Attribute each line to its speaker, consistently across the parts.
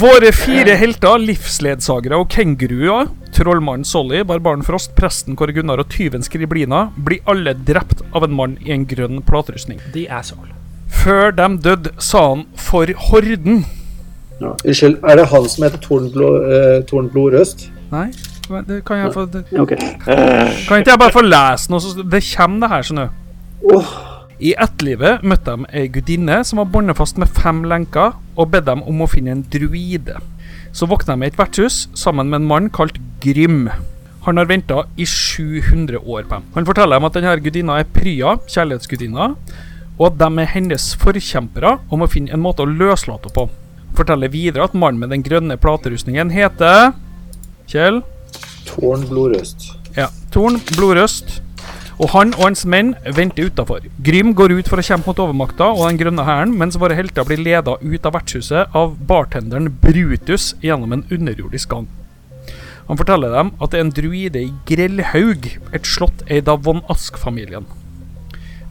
Speaker 1: Våre fire helter, livsledsagere og kenguruer, trollmannen Solly, barbaren Frost, presten Kåre Gunnar og tyven Skriblina, blir alle drept av en mann i en grønn platerustning.
Speaker 2: The asshole.
Speaker 1: Før de døde, sa han for horden.
Speaker 3: Ja. Unnskyld, er det han som heter Tornblå, eh, Tornblå Røst?
Speaker 1: Nei, men det kan jeg få det-
Speaker 3: Ok.
Speaker 1: Kan ikke jeg bare få lese noe? så- Det kommer, det her, skjønner du. I ettlivet møtte de ei gudinne som var båndet fast med fem lenker, og bedt dem om å finne en druide. Så våkna de i et vertshus sammen med en mann kalt Grym. Han har venta i 700 år på dem. Han forteller dem at denne gudinna er Prya, kjærlighetsgudinna, og at de er hennes forkjempere og må finne en måte å løslate henne på. Forteller videre at mannen med den grønne platerustningen heter Kjell?
Speaker 3: Tornblå Røst.
Speaker 1: Ja. Torn, blodrøst. Og han og hans menn venter utafor. Grym går ut for å kjempe mot overmakta og den grønne hæren, mens våre helter blir leda ut av vertshuset av bartenderen Brutus gjennom en underjordisk gang. Han forteller dem at det er en druide i Grellhaug, et slott eid av von Ask-familien.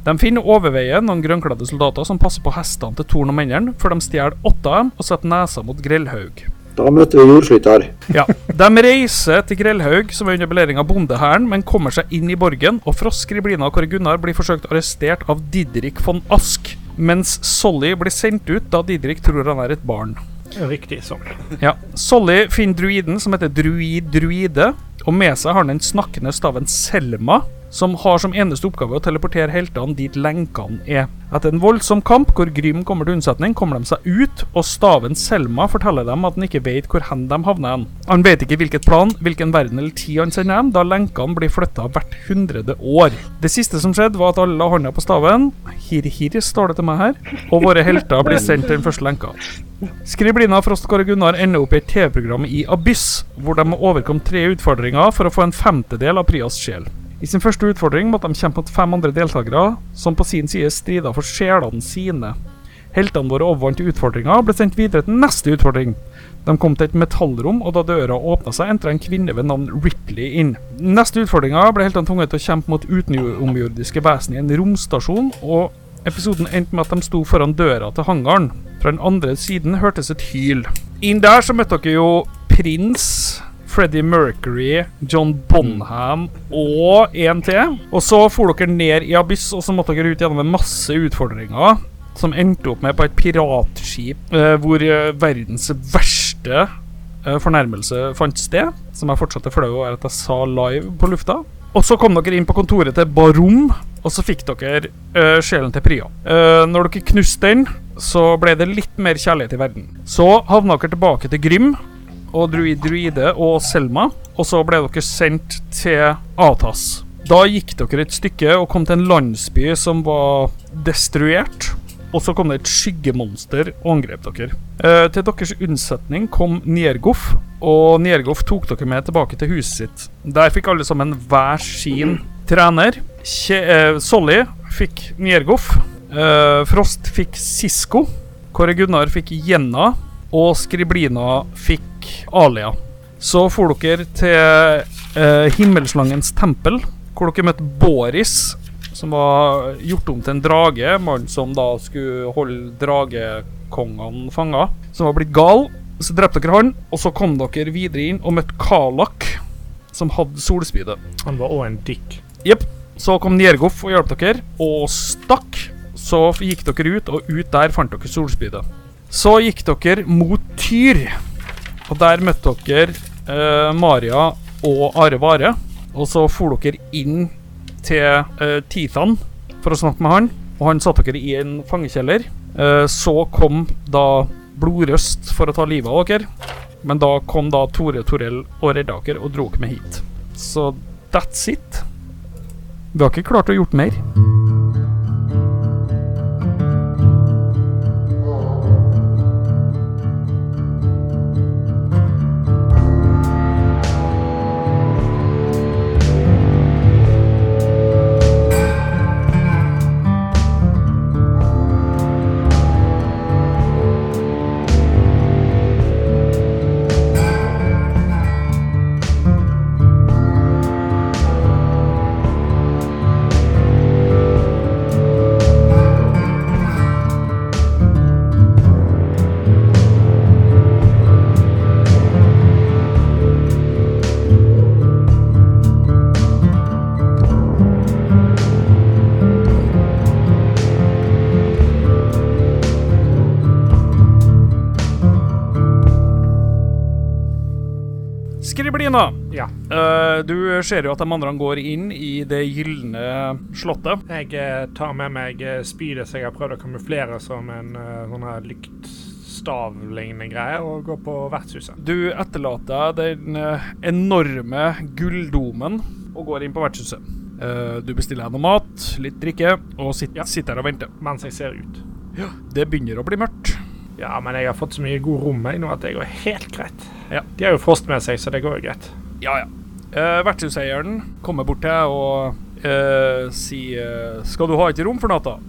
Speaker 1: De finner overveien noen grønnkledde soldater som passer på hestene til Torn og mennene, før de stjeler åtte av dem og setter nesa mot Grellhaug.
Speaker 4: Da møter vi jordskytter.
Speaker 1: Ja. De reiser til Grellhaug, som er under beleiring av bondehæren, men kommer seg inn i borgen, og Frost, Skriblina og Kåre Gunnar blir forsøkt arrestert av Didrik von Ask, mens Solly blir sendt ut da Didrik tror han er et barn.
Speaker 2: Riktig sånn.
Speaker 1: Ja. Solly finner druiden som heter Druid Druide, og med seg har han den snakkende staven Selma, som har som eneste oppgave å teleportere heltene dit lenkene er. Etter en voldsom kamp hvor Grym kommer til unnsetning, kommer de seg ut, og staven Selma forteller dem at han ikke vet hvor hen de havner hen. Han vet ikke hvilket plan, hvilken verden eller tid han sender dem, da lenkene blir flytta hvert hundrede år. Det siste som skjedde, var at alle la hånda på staven. Hir-hir, står det til meg her. Og våre helter blir sendt til den første lenka. Skriblina, Frost Kåre Gunnar ender opp i et TV-program i Abyss, hvor de må overkomme tre utfordringer for å få en femtedel av Prias sjel. I sin første utfordring måtte de kjempe mot fem andre deltakere, som på sin side strida for sjelene sine. Heltene våre overvant utfordringa og ble sendt videre til neste utfordring. De kom til et metallrom, og da døra åpna seg, entra en kvinne ved navn Ripley inn. Neste utfordringa ble heltene tvunget til å kjempe mot utenomjordiske vesen i en romstasjon, og Episoden endte med at de sto foran døra til hangaren. Fra den andre siden hørtes et hyl. Inn der så møtte dere jo prins, Freddie Mercury, John Bonham og en til. Og så for dere ned i abyss, og så måtte dere ut gjennom en masse utfordringer. Som endte opp med på et piratskip eh, hvor eh, verdens verste eh, fornærmelse fant sted. Som jeg fortsatt er flau over at jeg sa live på lufta. Og så kom dere inn på kontoret til Barom, og så fikk dere eh, sjelen til Prya. Eh, når dere knuste den, så ble det litt mer kjærlighet i verden. Så havna dere tilbake til Grym og Druid Druide og Selma, og så ble dere sendt til Atas. Da gikk dere et stykke og kom til en landsby som var destruert. Og så kom det et skyggemonster og angrep dere. Eh, til deres unnsetning kom Niergoff, og Niergoff tok dere med tilbake til huset sitt. Der fikk alle sammen hver sin trener. Kje, eh, Solly fikk Niergoff. Eh, Frost fikk Sisko. Kåre Gunnar fikk Jenna. Og Skriblina fikk Alia. Så for dere til eh, Himmelslangens tempel, hvor dere møtte Boris, som var gjort om til en drage. Mannen som da skulle holde dragekongene fanga. Som var blitt gal. Så drepte dere han, og så kom dere videre inn og møtte Kalak, som hadde solspydet.
Speaker 2: Han var òg en dick.
Speaker 1: Jepp. Så kom Niergoff og hjalp dere, og stakk. Så f- gikk dere ut, og ut der fant dere solspydet. Så gikk dere mot Tyr, og der møtte dere eh, Maria og Are Vare. Og så for dere inn til eh, Tithan for å snakke med han, og han satte dere i en fangekjeller. Eh, så kom da Blodrøst for å ta livet av dere, men da kom da Tore Torell og redda dere og dro dere med hit. Så that's it. Vi har ikke klart å gjort mer. Driblina.
Speaker 2: Ja.
Speaker 1: Eh, du ser jo at de andre går inn i det gylne slottet.
Speaker 2: Jeg eh, tar med meg eh, spydet som jeg har prøvd å kamuflere som en eh, sånn her lyktstavlignende greie, og går på vertshuset.
Speaker 1: Du etterlater deg den eh, enorme gulldomen og går inn på vertshuset. Eh, du bestiller deg noe mat, litt drikke, og sit,
Speaker 2: Ja.
Speaker 1: sitter her og venter.
Speaker 2: Mens jeg ser ut.
Speaker 1: Det begynner å bli mørkt.
Speaker 2: Ja, men jeg har fått så mye god rom jeg nå at det går helt greit.
Speaker 1: Ja.
Speaker 2: De har jo frost med seg, så det går jo greit.
Speaker 1: Ja, ja. Eh, vertshuseieren kommer bort til deg og eh, sier 'Skal du ha et rom for natta?'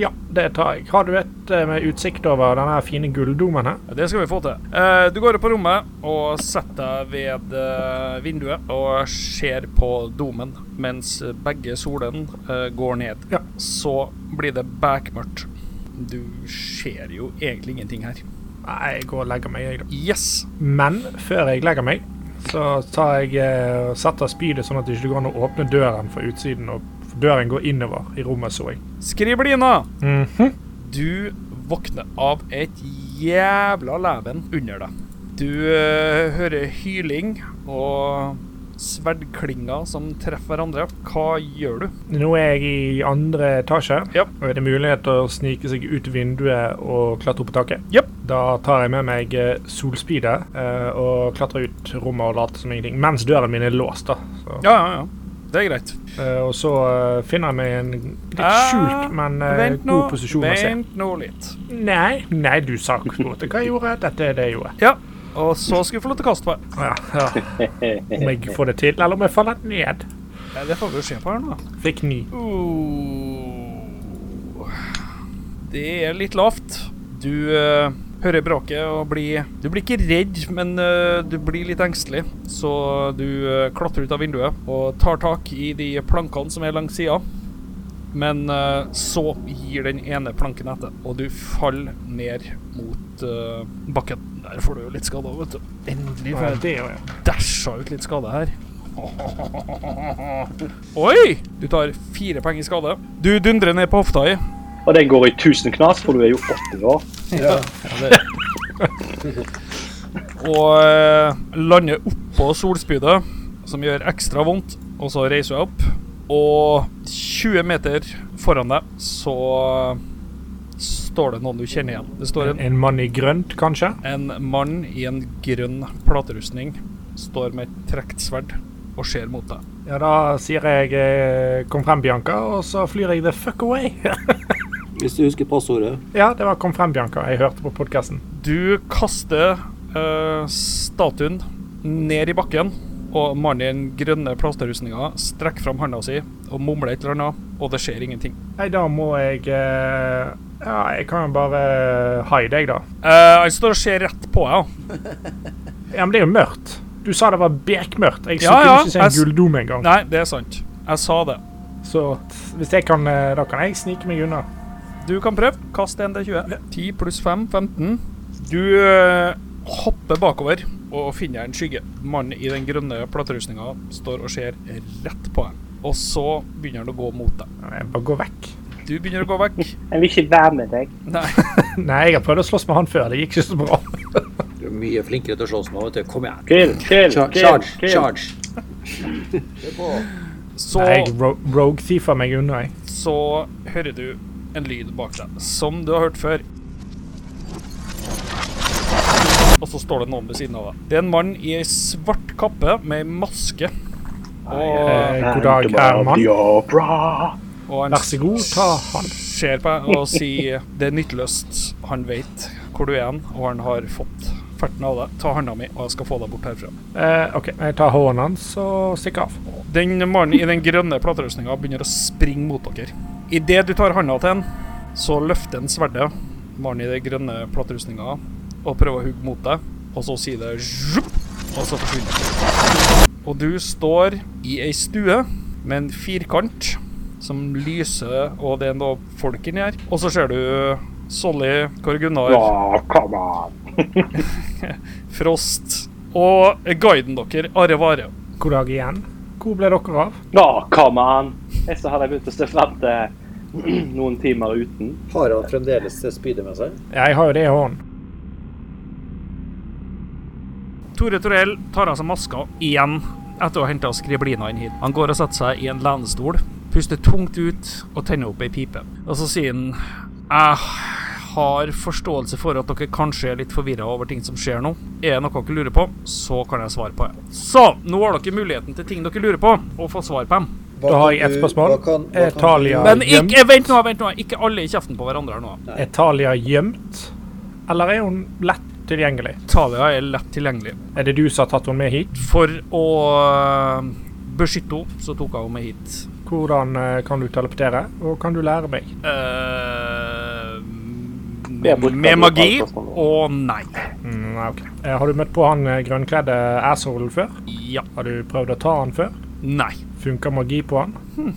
Speaker 2: Ja, det tar jeg. Har du et eh, med utsikt over denne fine gulldomen her?
Speaker 1: Ja, Det skal vi få til. Eh, du går opp på rommet og setter deg ved eh, vinduet og ser på domen mens begge solene eh, går ned.
Speaker 2: Ja.
Speaker 1: Så blir det bekmørkt. Du ser jo egentlig ingenting her.
Speaker 2: Nei, jeg går og legger meg, jeg, da.
Speaker 1: Yes!
Speaker 2: Men før jeg legger meg, så tar jeg eh, og setter spydet sånn at det ikke går an å åpne døren fra utsiden. Og for døren går innover i rommet, så jeg.
Speaker 1: Skriblina,
Speaker 2: Mhm.
Speaker 1: du våkner av et jævla leven under deg. Du eh, hører hyling og sverdklinger som treffer hverandre. Hva gjør du?
Speaker 2: Nå er jeg i andre etasje.
Speaker 1: Ja.
Speaker 2: Og er det mulighet til å snike seg ut vinduet og klatre opp på taket?
Speaker 1: Japp.
Speaker 2: Da tar jeg med meg eh, solspydet eh, og klatrer ut rommet og later som ingenting. Mens døren min er låst, da. Så,
Speaker 1: Ja, ja, ja. Det er greit.
Speaker 2: eh, og så eh, finner jeg meg en litt
Speaker 1: Ah,
Speaker 2: skjult, men eh,
Speaker 1: Vent nå,
Speaker 2: god posisjon å se.
Speaker 1: vent nå litt.
Speaker 2: Nei, nei, du sa akkurat hva jeg gjorde. Dette er det jeg gjorde.
Speaker 1: Ja, og så skal vi få lov til å kaste på. her.
Speaker 2: Ja, ja. Om jeg får det til, eller om jeg faller ned.
Speaker 1: Ja, det får vi jo se på her nå.
Speaker 2: Fikk ni.
Speaker 1: Uh, det er litt lavt. Du eh, hører bråket og blir Du blir ikke redd, men eh, du blir litt engstelig. Så du eh, klatrer ut av vinduet og tar tak i de plankene som er langs sida. Men eh, så gir den ene planken etter, og du faller ned mot eh, bakken. Der får du jo litt skade òg, vet du. Endelig får
Speaker 2: Ja,
Speaker 1: jeg
Speaker 2: det gjør jeg.
Speaker 1: dæsja ut litt skade her. Oi! Du tar fire poeng i skade. Du dundrer ned på hofta di.
Speaker 4: Og den går i tusen knas, for du er jo 80 år.
Speaker 3: Ja.
Speaker 1: Og eh, lander oppå solspydet, som gjør ekstra vondt. Og så reiser jeg opp, og 20 meter foran deg så står det noen du kjenner igjen. Det står en
Speaker 2: En mann i grønt, kanskje?
Speaker 1: En mann i en grønn platerustning står med et trukket sverd og ser mot deg.
Speaker 2: Ja, da sier jeg eh, 'kom frem, Bianca', og så flyr jeg the fuck away.
Speaker 5: Hvis du husker passordet.
Speaker 2: ja, det var 'kom frem, Bianca' jeg hørte på podkasten.
Speaker 1: Du kaster eh, statuen ned i bakken, og mannen i den grønne plasterrustninga strekker fram handa si og mumler et eller annet, og det skjer ingenting.
Speaker 2: Nei, da må jeg eh, Ja, jeg kan jo bare hide, jeg, da.
Speaker 1: Eh, han står og ser rett på deg.
Speaker 2: Ja, men det er jo mørkt. Du sa det var bekmørkt. Jeg
Speaker 1: Ja,
Speaker 2: skulle
Speaker 1: ja,
Speaker 2: ikke se
Speaker 1: jeg s-
Speaker 2: en gulldom engang.
Speaker 1: Nei, det er sant. Jeg sa det.
Speaker 2: Så t- hvis jeg kan, eh, da kan jeg snike meg unna.
Speaker 1: Du kan prøve. Kast 1 til 20. 10 pluss 5, 15. Du eh, hopper bakover og finner en skygge. Mannen i den grønne platerustninga står og ser rett på deg. Og så begynner han å gå mot deg.
Speaker 2: Jeg bare går vekk.
Speaker 1: Du begynner å gå vekk.
Speaker 4: Jeg vil ikke være med deg.
Speaker 1: Nei.
Speaker 2: Nei, jeg har prøvd å slåss med han før. Det gikk ikke så bra.
Speaker 5: Du er mye flinkere til å slåss med, vet du. Kom igjen.
Speaker 4: Chill, chill,
Speaker 5: Char
Speaker 4: chill.
Speaker 5: charge,
Speaker 4: chill.
Speaker 5: charge. Det er bra.
Speaker 1: Så
Speaker 2: Nei, jeg ro rogue thiefer meg unna, jeg.
Speaker 1: så hører du en lyd bak deg, som du har hørt før. Og så står det noen ved siden av deg. Det er en mann i ei svart kappe med ei maske. Og,
Speaker 2: Eh, god dag, Herman.
Speaker 1: og han
Speaker 2: Vær så god, ta han.
Speaker 1: ser på deg og sier det er nytteløst. Han vet hvor du er hen, og han har fått ferten av deg. Ta handa mi, og jeg skal få deg bort herfra.
Speaker 2: Eh, OK, jeg tar hånden hans og stikker av.
Speaker 1: Den mannen i den grønne platerøsninga begynner å springe mot dere. Idet du tar handa til han, så løfter han sverdet, mannen i den grønne platerøsninga, og prøver å hugge mot deg. Og så sier det zjupp, og så forsvinner det. Og du står i ei stue med en firkant som lyser, og det er noe folk inni her. Og så ser du Solly, Kåre Gunnar,
Speaker 4: Åh, come on.
Speaker 1: Frost og guiden deres, Are Vare.
Speaker 2: God dag igjen. Hvor ble dere av?
Speaker 4: Åh, come on. Jeg så hadde jeg begynt å se frem til eh, noen timer uten.
Speaker 3: Har han fremdeles spydet med seg?
Speaker 2: Ja, jeg har jo det i hånden.
Speaker 1: Tore Torell tar av seg maska igjen etter å ha henta skriblina inn hit. Han går og setter seg i en lenestol, puster tungt ut og tenner opp ei pipe. Og så sier han Jeg har forståelse for at dere kanskje er litt forvirra over ting som skjer nå. Er det noe dere lurer på, så kan jeg svare på det. Så, nå har dere muligheten til ting dere lurer på, og få svar på dem.
Speaker 3: Hva
Speaker 2: Da har
Speaker 3: kan
Speaker 2: jeg ett
Speaker 3: du-
Speaker 2: spørsmål.
Speaker 3: hva kan- hva
Speaker 2: Er
Speaker 3: kan
Speaker 2: Thalia-
Speaker 3: du-
Speaker 1: Men
Speaker 2: gjem-
Speaker 1: ikke, vent nå, vent nå. Ikke alle i kjeften på hverandre her nå.
Speaker 2: Er Thalia gjemt, eller er hun lett tilgjengelig?
Speaker 1: Talia er lett tilgjengelig.
Speaker 2: Er det du som har tatt henne med hit?
Speaker 1: For å øh, beskytte henne, så tok jeg henne med hit.
Speaker 2: Hvordan eh, kan du teleportere, og kan du lære meg?
Speaker 1: Eh,
Speaker 4: Det er bortkastet
Speaker 1: med magi
Speaker 4: spørsmål.
Speaker 1: og nei.
Speaker 2: Mm, nei, ok. Eh, Har du møtt på han eh, grønnkledde asshole før?
Speaker 1: Ja.
Speaker 2: Har du prøvd å ta han før?
Speaker 1: Nei.
Speaker 2: Funker magi på han?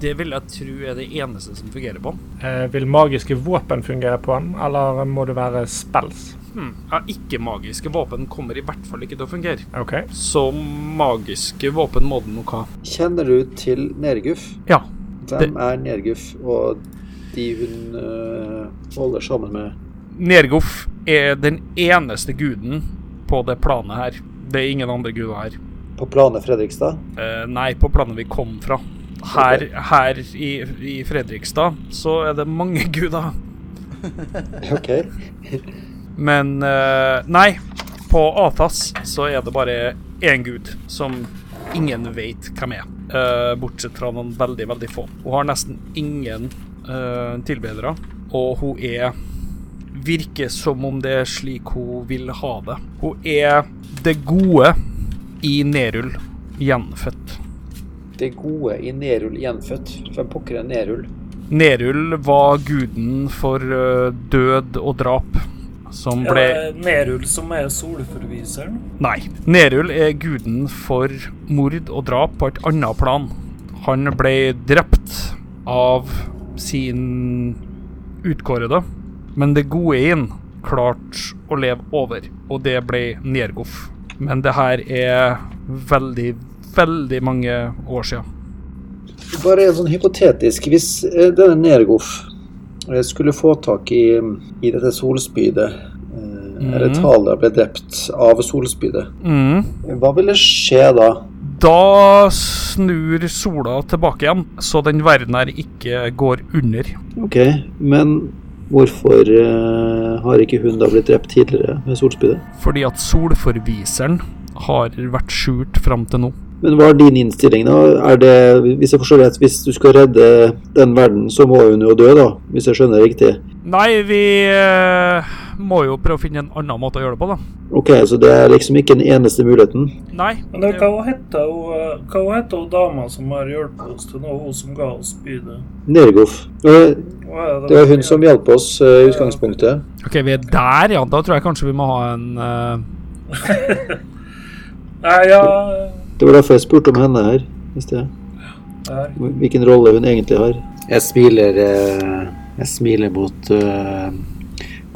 Speaker 1: Det vil jeg tro er det eneste som fungerer på den.
Speaker 2: Eh, vil magiske våpen fungere på han, eller må det være spells?
Speaker 1: Hmm. Ja, ikke-magiske våpen kommer i hvert fall ikke til å fungere.
Speaker 2: OK.
Speaker 1: Så magiske våpen må det nok ha.
Speaker 3: Kjenner du til Nerguff?
Speaker 1: Ja.
Speaker 3: Hvem er Nerguff, og de hun øh, holder sammen med?
Speaker 1: Nergoff er den eneste guden på det planet her. Det er ingen andre guder her.
Speaker 3: På planet Fredrikstad?
Speaker 1: Eh, nei, på planet vi kom fra. Her, her i, i Fredrikstad så er det mange guder.
Speaker 3: Ok.
Speaker 1: Men eh, nei, på Athas så er det bare én gud som ingen vet hvem er. eh, bortsett fra noen veldig, veldig få. Hun har nesten ingen eh, tilbedere, og hun er Virker som om det er slik hun vil ha det. Hun er det gode i Nerull gjenfødt.
Speaker 3: Det gode i Nerul gjenfødt. Hvem pokker er Nerul?
Speaker 1: Nerull var guden for eh, død og drap, som
Speaker 6: Er
Speaker 1: ble
Speaker 6: det Nerul som er solforviseren?
Speaker 1: Nei. Nerul er guden for mord og drap på et annet plan. Han ble drept av sin utkårede, men det gode i han klarte å leve over, og det ble Nergoff. Men det her er veldig, veldig mange år siden.
Speaker 3: Bare en sånn hypotetisk Hvis eh, denne Nergoff eh, skulle få tak i, i dette solspydet, eh,
Speaker 2: Mhm.
Speaker 3: eller Thalia ble drept av solspydet,
Speaker 1: Mm.
Speaker 3: hva ville skje da?
Speaker 1: Da snur sola tilbake igjen, så den verden her ikke går under.
Speaker 3: Ok, men hvorfor eh, har ikke hun da blitt drept tidligere med solspydet?
Speaker 1: Fordi at solforviseren har vært skjult fram til nå.
Speaker 3: Men hva er din innstilling, da? Er det, hvis jeg forstår rett, hvis du skal redde den verden, så må hun jo dø, da? Hvis jeg skjønner riktig?
Speaker 1: Nei, vi eh, må jo prøve å finne en annen måte å gjøre det på, da.
Speaker 3: Ok, så det er liksom ikke den eneste muligheten?
Speaker 1: Nei.
Speaker 6: Men det, hva heter hun, eh, hva heter hun dama som har hjulpet oss til nå, hun som ga oss spydet?
Speaker 3: Nergoff. Øh,
Speaker 6: Hva er
Speaker 3: Det var hun som hjalp oss øh, i utgangspunktet.
Speaker 1: OK, vi er der, ja. Da tror jeg kanskje vi må ha en eh,
Speaker 6: Nei, ja
Speaker 3: Det var derfor jeg spurte om henne her i sted.
Speaker 6: der.
Speaker 3: Hvilken rolle hun egentlig har. Jeg smiler, eh, jeg smiler mot eh,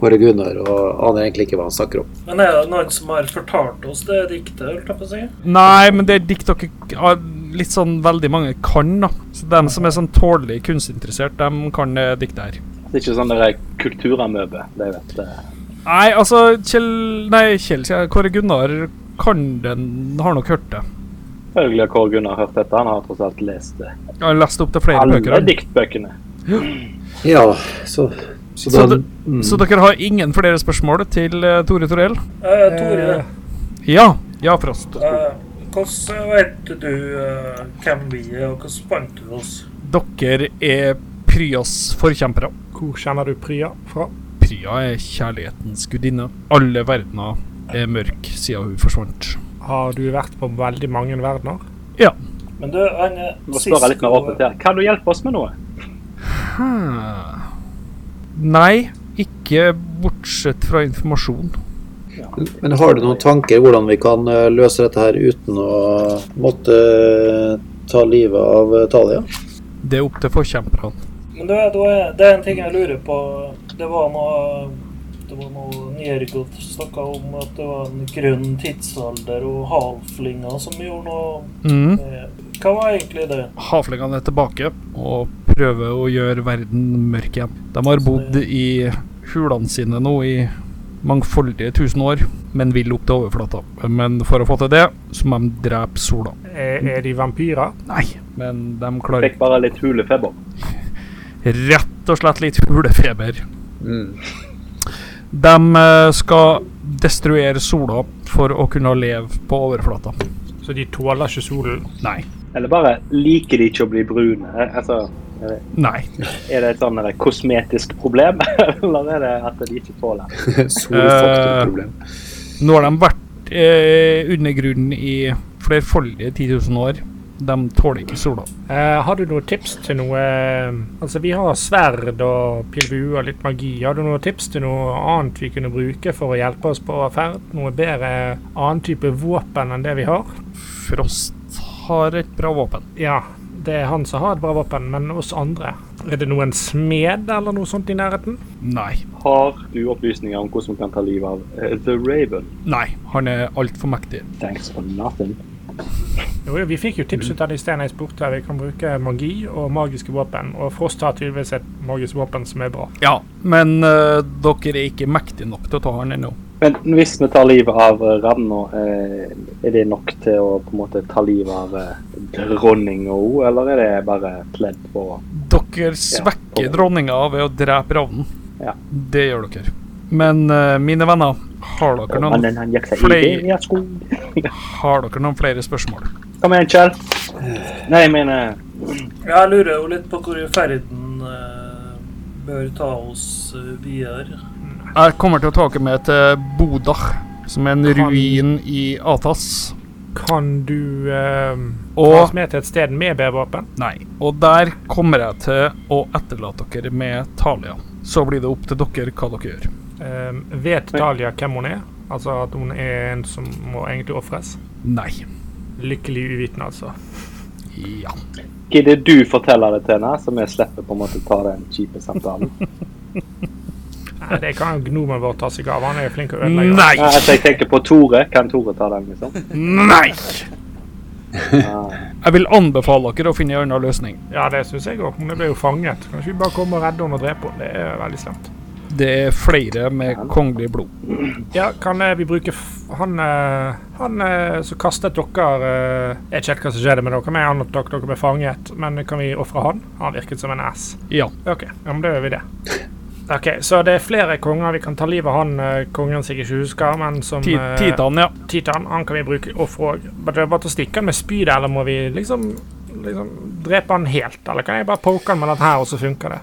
Speaker 3: Kåre Gunnar og aner egentlig ikke hva han snakker om.
Speaker 6: Men er det noen som har fortalt oss det diktet, holdt jeg på å si?
Speaker 1: Nei, men det er dikt dere k- ah, litt sånn veldig mange kan, da. Så dem som er sånn tålelig kunstinteressert, dem kan det diktet her.
Speaker 4: Det er ikke sånn der kulturamøbe. Det eh, vet jeg.
Speaker 1: Nei, altså Kjell Nei, Kjell, sier jeg. Kåre Gunnar kan den Har nok hørt det.
Speaker 4: Selvfølgelig har Kåre Gunnar hørt dette. Han har tross alt lest det.
Speaker 1: Jeg har lest opp til flere
Speaker 4: alle
Speaker 1: bøker. han.
Speaker 4: diktbøkene.
Speaker 3: Ja, så, så,
Speaker 1: Så,
Speaker 3: da, mm.
Speaker 1: de, så dere har ingen flere spørsmål til eh, Tore Torell?
Speaker 6: Eh, Tore,
Speaker 1: Ja. Ja, Frost.
Speaker 6: eh, hvordan vet du eh, hvem vi er, og hvordan fant du oss?
Speaker 1: Dere er Pryas forkjempere.
Speaker 2: Hvor kjenner du Prya fra?
Speaker 1: Prya er kjærlighetens gudinne. Alle verdener er mørk siden hun forsvant.
Speaker 2: Har du vært på veldig mange verdener?
Speaker 6: Men du, han er
Speaker 4: Vi må spørre litt mer åpent her. Kan du hjelpe oss med noe?
Speaker 1: Ah. Nei, ikke bortsett fra informasjon.
Speaker 3: men har du noen tanker hvordan vi kan øh, løse dette her uten å måtte øh, ta livet av øh, Thalia?
Speaker 1: Det er opp til forkjemperne.
Speaker 6: Men du, det var- det er en ting jeg lurer på. Det var noe det var noe Njergot snakka om at det var en grønn tidsalder og halflinger som gjorde noe
Speaker 1: Mm.
Speaker 6: med Eh, Hva var egentlig det?
Speaker 1: Havlingene er tilbake og prøver å gjøre verden mørk igjen. De har bodd i hulene sine nå i mangfoldige tusen år men vil opp til overflata. Men for å få til det, så må de drepe sola.
Speaker 2: Er, er de vampyrer?
Speaker 1: Nei, men de klarer
Speaker 4: Fikk bare litt hulefeber.
Speaker 1: rett og slett litt hulefeber.
Speaker 3: Mm.
Speaker 1: De eh, skal destruere sola for å kunne leve på overflata.
Speaker 2: Så de tåler ikke solen?
Speaker 1: Nei.
Speaker 4: Eller bare liker de ikke å bli brune? Eh, Altså,
Speaker 1: Nei.
Speaker 4: er det et sånn der kosmetisk problem, eller er det at de ikke tåler det?
Speaker 3: Solfaktorproblem.
Speaker 1: Nå har de vært eh, undergrunnen i flerfoldige 10 000 år. De tåler ikke sola.
Speaker 2: Eh, har du noen tips til noe Altså, vi har sverd og pilbue og litt magi. Har du noen tips til noe annet vi kunne bruke for å hjelpe oss på ferd? Noe bedre annen type våpen enn det vi har?
Speaker 1: Frost har et bra våpen.
Speaker 2: Ja, det er han som har et bra våpen, men oss andre. Er det noen smed eller noe sånt i nærheten?
Speaker 1: Nei.
Speaker 4: Har du opplysninger om hvordan man kan ta livet av eh, The Raven?
Speaker 1: Nei, han er altfor mektig.
Speaker 4: Thanks for nothing.
Speaker 2: Jo, jo, vi fikk jo tips ut av de stenene jeg spurte. Vi kan bruke magi og magiske våpen. Og Frost har tydeligvis et magisk våpen som er bra.
Speaker 1: Ja, men eh, dere er ikke mektige nok til å ta han ennå.
Speaker 4: Men hvis vi tar livet av eh, Ravna, eh, er det nok til å på en måte ta livet av eh, dronninga òg, eller er det bare pledd på
Speaker 1: Dere svekker dronninga ved å drepe ravnen.
Speaker 4: Ja.
Speaker 1: Det gjør dere. Men eh, mine venner, har dere, noen,
Speaker 4: Mannen han gikk seg i
Speaker 1: Fløy.
Speaker 4: Devias skog.
Speaker 1: har dere noen flere spørsmål?
Speaker 4: Kom igjen, Kjell. Nei, jeg mener
Speaker 6: Jeg lurer jo litt på hvor i ferden eh, bør ta oss eh, videre.
Speaker 1: Jeg kommer til å ta dere med til Boda, som er en ruin i Atas.
Speaker 2: Kan du eh,
Speaker 1: Og-
Speaker 2: ta oss med til et sted med B-våpen?
Speaker 1: Nei. Og der kommer jeg til å etterlate dere med Thalia. Så blir det opp til dere hva dere gjør.
Speaker 2: Eh, vet Dahlia hvem hun er? Altså at hun er en som må egentlig ofres?
Speaker 1: Nei.
Speaker 2: Lykkelig uvitende, altså.
Speaker 1: Ja.
Speaker 4: Gidder du fortelle det til henne, så vi slipper på en måte ta den kjipe samtalen?
Speaker 2: Nei, det kan gnomen vår ta seg av. Han er jo flink til å ødelegge.
Speaker 1: Nei!
Speaker 4: Nei, altså, jeg tenker på Tore. Kan Tore ta den, liksom?
Speaker 1: Nei!
Speaker 4: Ah.
Speaker 1: Jeg vil anbefale dere å finne en annen løsning.
Speaker 2: Ja, det syns jeg òg. Hun ble jo fanget. Kan ikke vi bare komme og redde henne og drepe henne? Det er veldig slemt.
Speaker 1: Det er flere med kongelig blod.
Speaker 2: Ja, kan eh, vi bruke f han eh, Han eh, som kastet dere eh, Jeg vet ikke helt hva som skjedde med dere, men han at dere, dere ble fanget. Men kan vi ofre han? Han virket som en ass.
Speaker 1: Ja.
Speaker 2: OK, ja, men da gjør vi det. OK, så det er flere konger vi kan ta livet av han eh, kongen som jeg ikke husker, men som
Speaker 1: Ti-
Speaker 2: eh,
Speaker 1: Titan, ja.
Speaker 2: Titan. Han kan vi bruke ofre òg. Bare bare til å stikke han med spydet, eller må vi liksom Liksom drepe han helt, eller kan jeg bare poke han med dette her, og så funker det?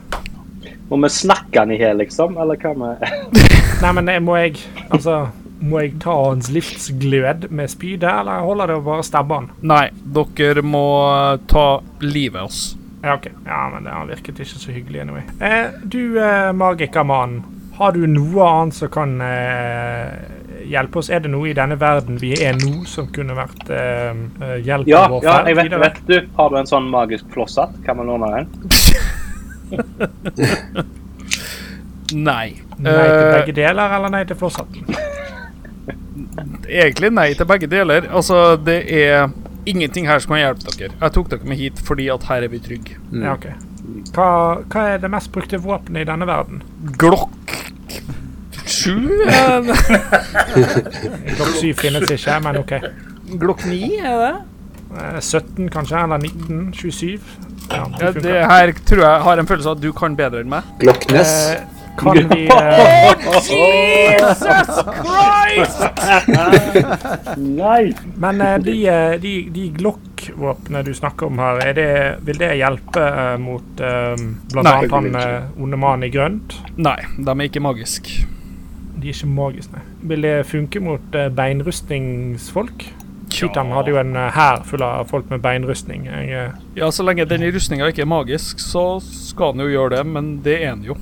Speaker 4: Må vi snakke han i hjel, liksom? Eller hva med
Speaker 2: Nei, men eh, må jeg Altså, må jeg ta hans livsglød med spydet, eller holder det å bare stabbe han?
Speaker 1: Nei, dere må eh, ta livet av oss.
Speaker 2: Ja, ok. Ja, men det han virket ikke så hyggelig anyway. Eh, du, eh, magikermann. Har du noe annet som kan eh, hjelpe oss? Er det noe i denne verden vi er nå, som kunne vært eh, eh, hjelpen
Speaker 4: Ja,
Speaker 2: vår?
Speaker 4: ja,
Speaker 2: ferd
Speaker 4: jeg vet,
Speaker 2: videre?
Speaker 4: vet du. Har du en sånn magisk flosshatt? Kan vi låne den?
Speaker 1: Nei.
Speaker 2: Nei til
Speaker 1: Eh,
Speaker 2: begge deler, eller nei til flosshatten?
Speaker 1: egentlig nei til begge deler. Altså, det er ingenting her som kan hjelpe dere. Jeg tok dere med hit fordi at her er vi trygge.
Speaker 2: Ja, ok. Hva, hva er det mest brukte våpenet i denne verden?
Speaker 1: Glokk sju? er det?
Speaker 2: Klokk syv finnes ikke, men ok.
Speaker 1: Glokk ni, er det?
Speaker 2: Eh, 17 kanskje, eller 19? 27? Ja, det
Speaker 1: Ja, det
Speaker 2: funker.
Speaker 1: her tror jeg har en følelse av at du kan bedre enn meg.
Speaker 3: Glock Ness.
Speaker 2: Eh, kan vi... Eh,
Speaker 1: Jesus Christ!
Speaker 4: Nei!
Speaker 2: Men eh, de, eh, de, de Glock-våpnene du snakker om her, er det, vil det hjelpe eh, mot eh, blant
Speaker 1: Nei.
Speaker 2: annet han eh, onde mannen i grønt?
Speaker 1: Nei, de er ikke magiske.
Speaker 2: De er ikke magiske, nei. Vil det funke mot eh, beinrustningsfolk? Titan hadde jo en eh, hær full av folk med beinrustning. Jeg, eh,
Speaker 1: Ja, så lenge den rustninga ikke er magisk, så skal den jo gjøre det, men det er den jo.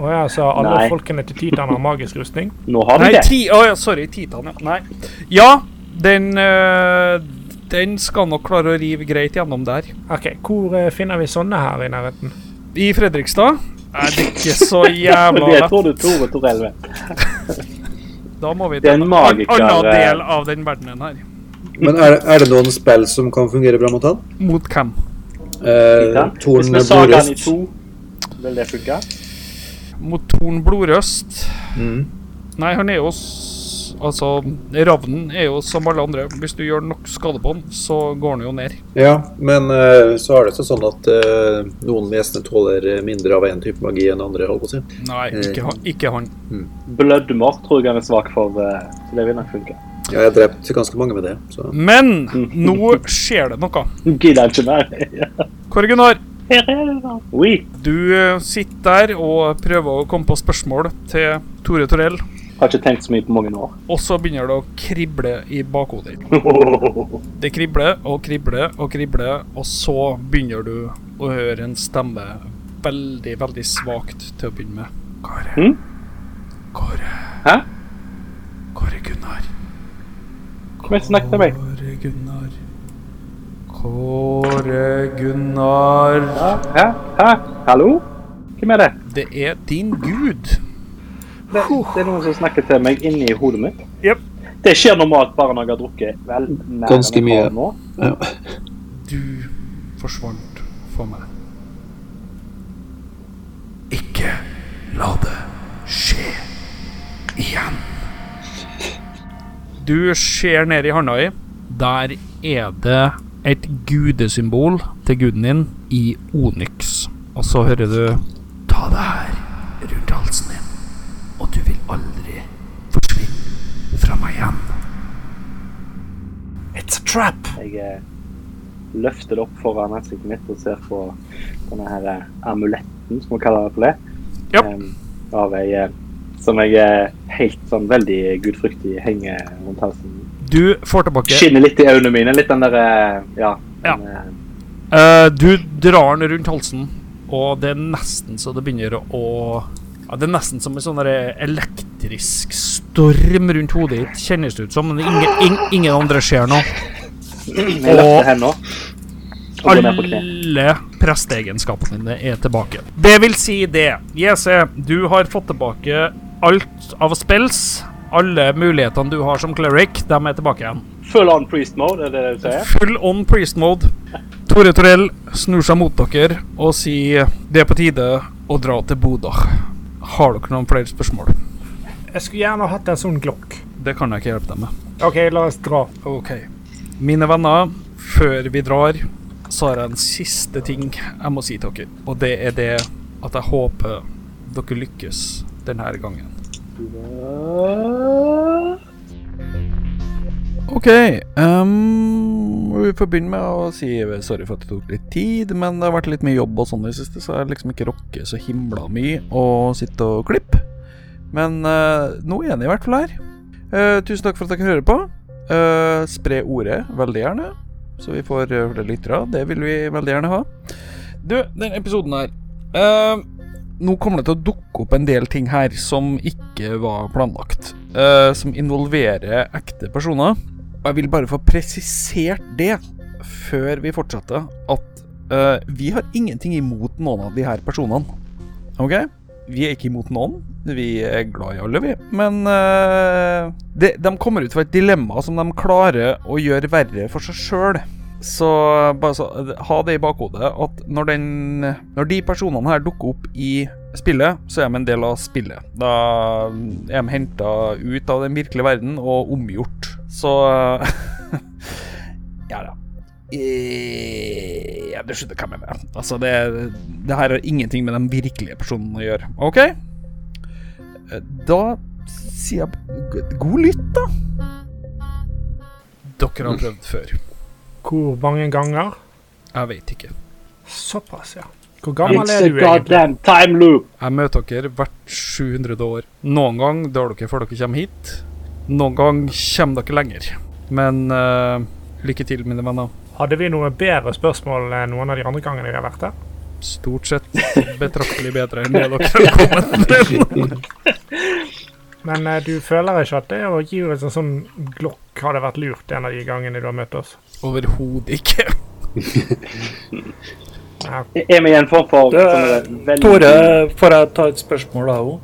Speaker 2: å ja, så alle
Speaker 4: Nei.
Speaker 2: folkene til Titan har magisk rustning?
Speaker 4: Nå har vi
Speaker 1: Nei,
Speaker 4: det.
Speaker 1: ti, å ja, sorry, Titan, ja. Nei. Ja, den øh, Den skal nok klare å rive greit gjennom der.
Speaker 2: OK, hvor eh, finner vi sånne her i nærheten?
Speaker 1: I Fredrikstad er det ikke så jævla
Speaker 4: Det
Speaker 1: lett.
Speaker 4: tror du Tore Torell vet.
Speaker 1: Da må vi
Speaker 4: Det er en
Speaker 1: en
Speaker 4: magiker,
Speaker 1: annen
Speaker 4: eh.
Speaker 1: del av den verdenen her.
Speaker 3: Men er, er det noen spill som kan fungere bra mot han?
Speaker 1: Mot hvem?
Speaker 3: Eh,
Speaker 4: Titan. Hvis
Speaker 3: Torn
Speaker 4: vi sager han i
Speaker 3: Borust.
Speaker 4: to, vil det funke?
Speaker 1: Mot Torn Blodrøst?
Speaker 3: Mm.
Speaker 1: Nei, han er jo s- Altså, ravnen er jo som alle andre. Hvis du gjør nok skade på den, så går den jo ned.
Speaker 3: Ja, men eh, så er det også sånn at eh, noen vesener tåler eh, mindre av én type magi enn andre. holdt på å si.
Speaker 1: Nei, ikke han. Ikke han.
Speaker 4: Blødmer tror jeg han er svak for, eh, så det vil nok funke.
Speaker 3: Ja, jeg har drept ganske mange med det. Så.
Speaker 1: Men nå skjer det noe.
Speaker 4: Gidder ikke mer.
Speaker 1: Kåre Gunnar,
Speaker 4: Oui.
Speaker 1: du eh, sitter der og prøver å komme på spørsmål til Tore Torell,
Speaker 4: Har ikke tenkt så mye på mange år.
Speaker 1: og så begynner det å krible i bakhodet ditt. Det kribler og kribler og kribler, og så begynner du å høre en stemme veldig, veldig svakt til å begynne med. Kåre.
Speaker 4: Hm?
Speaker 1: Kåre.
Speaker 4: Hæ?
Speaker 1: Kåre Gunnar.
Speaker 4: Kom og snakk til meg.
Speaker 1: Kåre Gunnar. Kåre Gunnar.
Speaker 4: Hæ? Hæ? Hallo? Hvem er det?
Speaker 1: Det er din gud.
Speaker 4: Det, det er noen som snakker til meg inni hodet mitt.
Speaker 1: Jep.
Speaker 4: Det skjer normalt bare når jeg har drukket vel nær
Speaker 3: Ganske
Speaker 4: enn jeg har
Speaker 3: mye.
Speaker 4: Nå.
Speaker 1: Du forsvant for meg. Ikke la det skje igjen. Du ser ned i handa di. Der er det et gudesymbol til guden din i Onyx. Og så hører du Ta det her rundt halsen din, og du vil aldri forsvinne fra meg igjen.
Speaker 2: It's a trap!
Speaker 4: Jeg eh, løfter det opp foran ansiktet mitt og ser på denne her eh, amuletten, som vi kaller det for det.
Speaker 1: Jep.
Speaker 4: Em, av ei eh, som jeg eh, helt sånn veldig gudfryktig henger rundt halsen.
Speaker 1: Du får tilbake
Speaker 4: Skinner litt i øynene mine. Litt den der eh, Ja.
Speaker 1: Ja.
Speaker 4: den, eh,
Speaker 1: Eh, du drar den rundt halsen, og det er nesten så det begynner å ja, Det er nesten som en sånn der elektrisk storm rundt hodet ditt, kjennes det ut som. Men ingen, ing, ingen andre ser noe.
Speaker 4: Jeg løfter henda og går ned på kne.
Speaker 1: Alle presteegenskapene dine er tilbake. Det vil si det. JC, du har fått tilbake alt av spells. Alle mulighetene du har som cleric, de er tilbake igjen.
Speaker 4: Full on priest mode, er det det du sier?
Speaker 1: Full on priest mode. Tore Torell snur seg mot dere og sier det er på tide å dra til Bodø. Har dere noen flere spørsmål?
Speaker 2: Jeg skulle gjerne hatt en sånn glokk.
Speaker 1: Det kan jeg ikke hjelpe deg med.
Speaker 2: OK, la oss dra.
Speaker 1: Ok. Mine venner, før vi drar, så har jeg en siste ting jeg må si til dere. Og det er det at jeg håper dere lykkes denne gangen.
Speaker 7: Ok, ehm, vi får begynne med å si sorry for at det tok litt tid, men det har vært litt mye jobb og sånn i det siste, så jeg har liksom ikke rokket så himla mye å sitte og klippe. Men eh, nå er jeg i hvert fall her. Eh, tusen takk for at dere hører på. Eh, spre ordet veldig gjerne, så vi får eh, flere lyttere. Det vil vi veldig gjerne ha. Du, den episoden her eh, Nå kommer det til å dukke opp en del ting her som ikke var planlagt. eh, som involverer ekte personer. Og jeg vil bare få presisert det før vi fortsetter, at eh, vi har ingenting imot noen av de her personene. OK? Vi er ikke imot noen. Vi er glad i alle, vi. Men eh, det, de kommer ut fra et dilemma som de klarer å gjøre verre for seg sjøl. Så bare så, ha det i bakhodet at når, den, når de personene her dukker opp i spillet, så er de en del av spillet. Da er de henta ut av den virkelige verden og omgjort. Så Ja da. Eh, Ja, du skjønner hva jeg mener. Altså, det, det her har ingenting med de virkelige personene å gjøre. OK? Eh, Da sier jeg g- god lytt, da.
Speaker 1: Dere har prøvd før.
Speaker 2: Hvor mange ganger?
Speaker 1: Jeg vet ikke.
Speaker 2: Såpass, ja. Hvor gammel
Speaker 4: It's
Speaker 2: er
Speaker 4: a
Speaker 2: du egentlig?
Speaker 4: goddamn time loop!
Speaker 1: Jeg møter dere hvert 700 år. Noen gang drar dere før dere kommer hit. Noen gang kommer dere lenger. Men eh, lykke til, mine venner.
Speaker 2: Hadde vi noe bedre spørsmål enn noen av de andre gangene vi har vært her?
Speaker 1: Stort sett betraktelig bedre enn det dere har kommet med.
Speaker 2: Men eh, du føler ikke at det å gi oss en sånn glokk hadde vært lurt en av de gangene du har møtt oss?
Speaker 1: Overhodet ikke.
Speaker 4: Er vi i en form for
Speaker 6: Det-
Speaker 4: sånn, eh, veldig-
Speaker 6: Tore, får jeg ta et spørsmål da òg?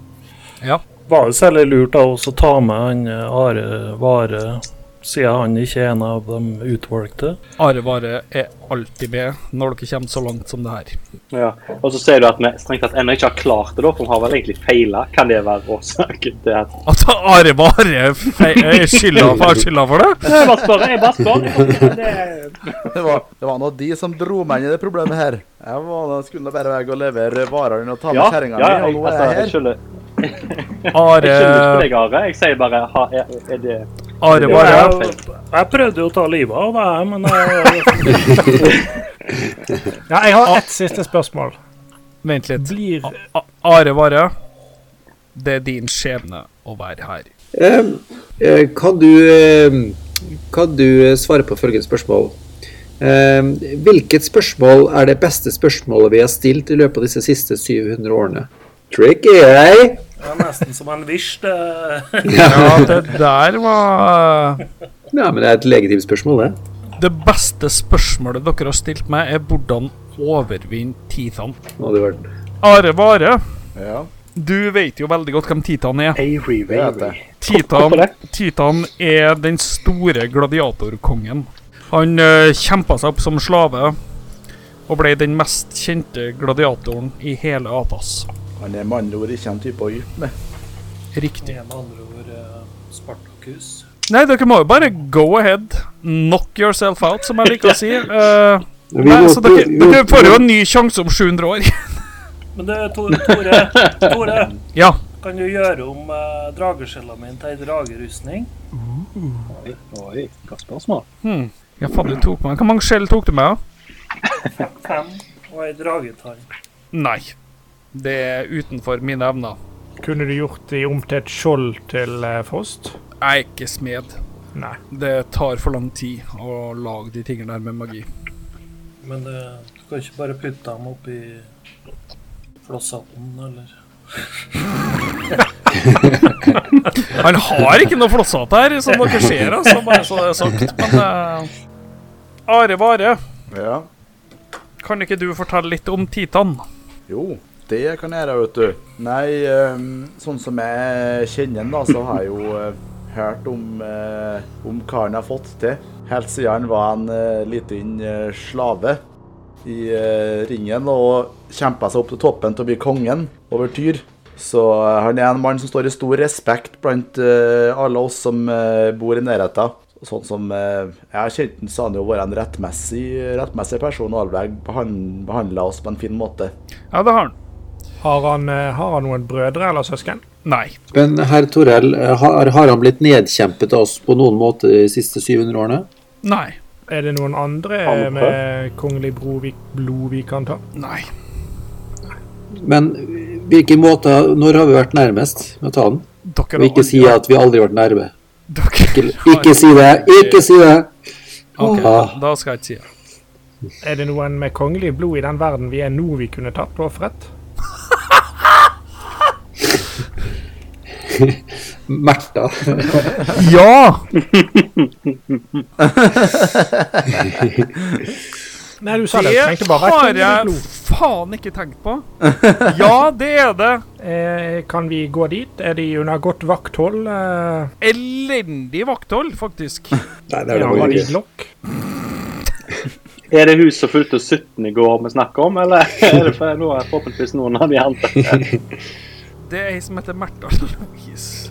Speaker 1: Ja.
Speaker 6: Var det særlig lurt av oss å ta med han eh, Are Vare siden han ikke er en av de utvalgte.
Speaker 1: Arevare er alltid med når dere kommer så langt som det her.
Speaker 4: Ja. Og så ser du at vi strengt tatt ennå ikke har klart det, da, for vi har vel egentlig feila. Kan det være årsaken til at
Speaker 1: At Arevare er skylda for, skylda for det?
Speaker 4: Jeg bare spør, jeg bare spør. Det er-
Speaker 8: Det var, det var nå de som dro meg inn i det problemet her. Jeg var, da skulle nå bare være og levere varene og ta med
Speaker 4: Ja, ja,
Speaker 8: kjerringa mi, og
Speaker 4: jeg,
Speaker 8: nå er
Speaker 4: altså,
Speaker 8: jeg
Speaker 4: jeg
Speaker 8: her.
Speaker 4: skylder jeg skylder ikke på
Speaker 1: Are,
Speaker 4: deg, Are. Jeg sier bare ha, er, er det
Speaker 6: Jo,
Speaker 1: Arevare
Speaker 6: jeg, jeg prøvde jo å ta livet av deg, men jeg,
Speaker 2: Ja, jeg har ett siste spørsmål.
Speaker 1: Vent litt.
Speaker 2: Blir
Speaker 1: A- A- Arevare, det er din skjebne å være her.
Speaker 3: Eh, eh, Kan du, eh, kan du eh, svare på følgende spørsmål? Eh, Hvilket spørsmål er det beste spørsmålet vi har stilt i løpet av disse siste 700 årene? Tricky, eh?
Speaker 6: jeg er nesten som en visj. det-
Speaker 1: Ja, det der var
Speaker 3: Ja, men det er et legitimt spørsmål, det.
Speaker 1: Det beste spørsmålet dere har stilt meg, er hvordan overvinne Titan.
Speaker 3: Nå hadde det vært
Speaker 1: Arevare,
Speaker 8: Ja,
Speaker 1: du vet jo veldig godt hvem Titan er.
Speaker 4: Avery,
Speaker 8: det vet
Speaker 4: Avery.
Speaker 8: jeg.
Speaker 1: Titan,
Speaker 4: Hvorfor det?
Speaker 1: Titan er den store gladiatorkongen. Han uh, kjempa seg opp som slave og ble den mest kjente gladiatoren i hele Atas.
Speaker 8: Han er med andre ord ikke en type å gype med.
Speaker 1: Riktig.
Speaker 6: Det er med andre ord eh, Spartacus.
Speaker 1: Nei, dere må jo bare go ahead. Knock yourself out, som jeg liker å si. Eh,
Speaker 3: Vi
Speaker 1: nei,
Speaker 3: må-
Speaker 1: så dere,
Speaker 3: vi-
Speaker 1: dere får jo en ny sjanse om 700 år.
Speaker 6: Men du, Tore, Tore, Tore
Speaker 1: ja.
Speaker 6: kan du gjøre om eh, drageskjella mi til ei dragerustning?
Speaker 4: Oi, godt spørsmål.
Speaker 1: Hmm. Ja, faen, du tok meg. Hvor mange skjell tok du meg? da?
Speaker 6: Fem og ei dragetann.
Speaker 1: Nei. Det er utenfor mine evner.
Speaker 2: Kunne du gjort de om til et skjold til eh, Frost?
Speaker 1: Jeg er ikke smed.
Speaker 2: Nei.
Speaker 1: Det tar for lang tid å lage de tingene der med magi.
Speaker 6: Men eh, du kan ikke bare putte dem oppi flosshatten, eller?
Speaker 1: Han har ikke noe flosshatt her, som dere ser, altså, bare så det er sagt. Men eh, Are Vare,
Speaker 8: Ja.
Speaker 1: kan ikke du fortelle litt om Titan?
Speaker 8: Jo, det kan jeg gjøre, vet du. Nei, ehm, sånn som jeg kjenner han, da, så har jeg jo eh, hørt om, eh, om hva han har fått til. Helt siden han var en eh, liten eh, slave i eh, ringen og kjempa seg opp til toppen til å bli kongen over Tyr. Så eh, han er en mann som står i stor respekt blant eh, alle oss som eh, bor i nærheten. Sånn som eh, jeg har kjent han, så har han jo vært en rettmessig, rettmessig person og allveg behandla oss på en fin måte.
Speaker 1: Ja, det har han.
Speaker 2: Har han, eh, har han noen brødre eller søsken?
Speaker 1: Nei.
Speaker 3: Men herr Torell, eh, har, har han blitt nedkjempet av oss på noen måte de siste 700 årene?
Speaker 1: Nei.
Speaker 2: Er det noen andre
Speaker 4: Andre?
Speaker 2: med kongelig bro vi, blod vi kan ta?
Speaker 1: Nei.
Speaker 3: Men hvilke måter, når har vi vært nærmest med å ta den?
Speaker 1: Dere
Speaker 3: Og ikke si at vi aldri har vært nærme. Ikke,
Speaker 1: dere,
Speaker 3: ikke si det! Ikke si det!
Speaker 1: Ok,
Speaker 3: Ah.
Speaker 1: da skal jeg ikke si det.
Speaker 2: Er det noen med kongelig blod i den verden vi er nå vi kunne tatt på offeret?
Speaker 3: Märtha.
Speaker 1: Ja!
Speaker 2: Nei, du sa det.
Speaker 1: Det
Speaker 2: du trengte bare
Speaker 1: har
Speaker 2: kongelig
Speaker 1: jeg
Speaker 2: blod.
Speaker 1: faen ikke tenkt på. Ja, det er det.
Speaker 2: Eh, kan vi gå dit? Er de under godt vakthold? Eh,
Speaker 1: Elendig vakthold, faktisk.
Speaker 3: Nei, det
Speaker 2: ja, har de glokk?
Speaker 4: Er det hus som fulgte 17 i går vi snakker om, eller er det for noe, forhåpentligvis noen av de andre?
Speaker 1: Det er ei som heter Märtha Louise.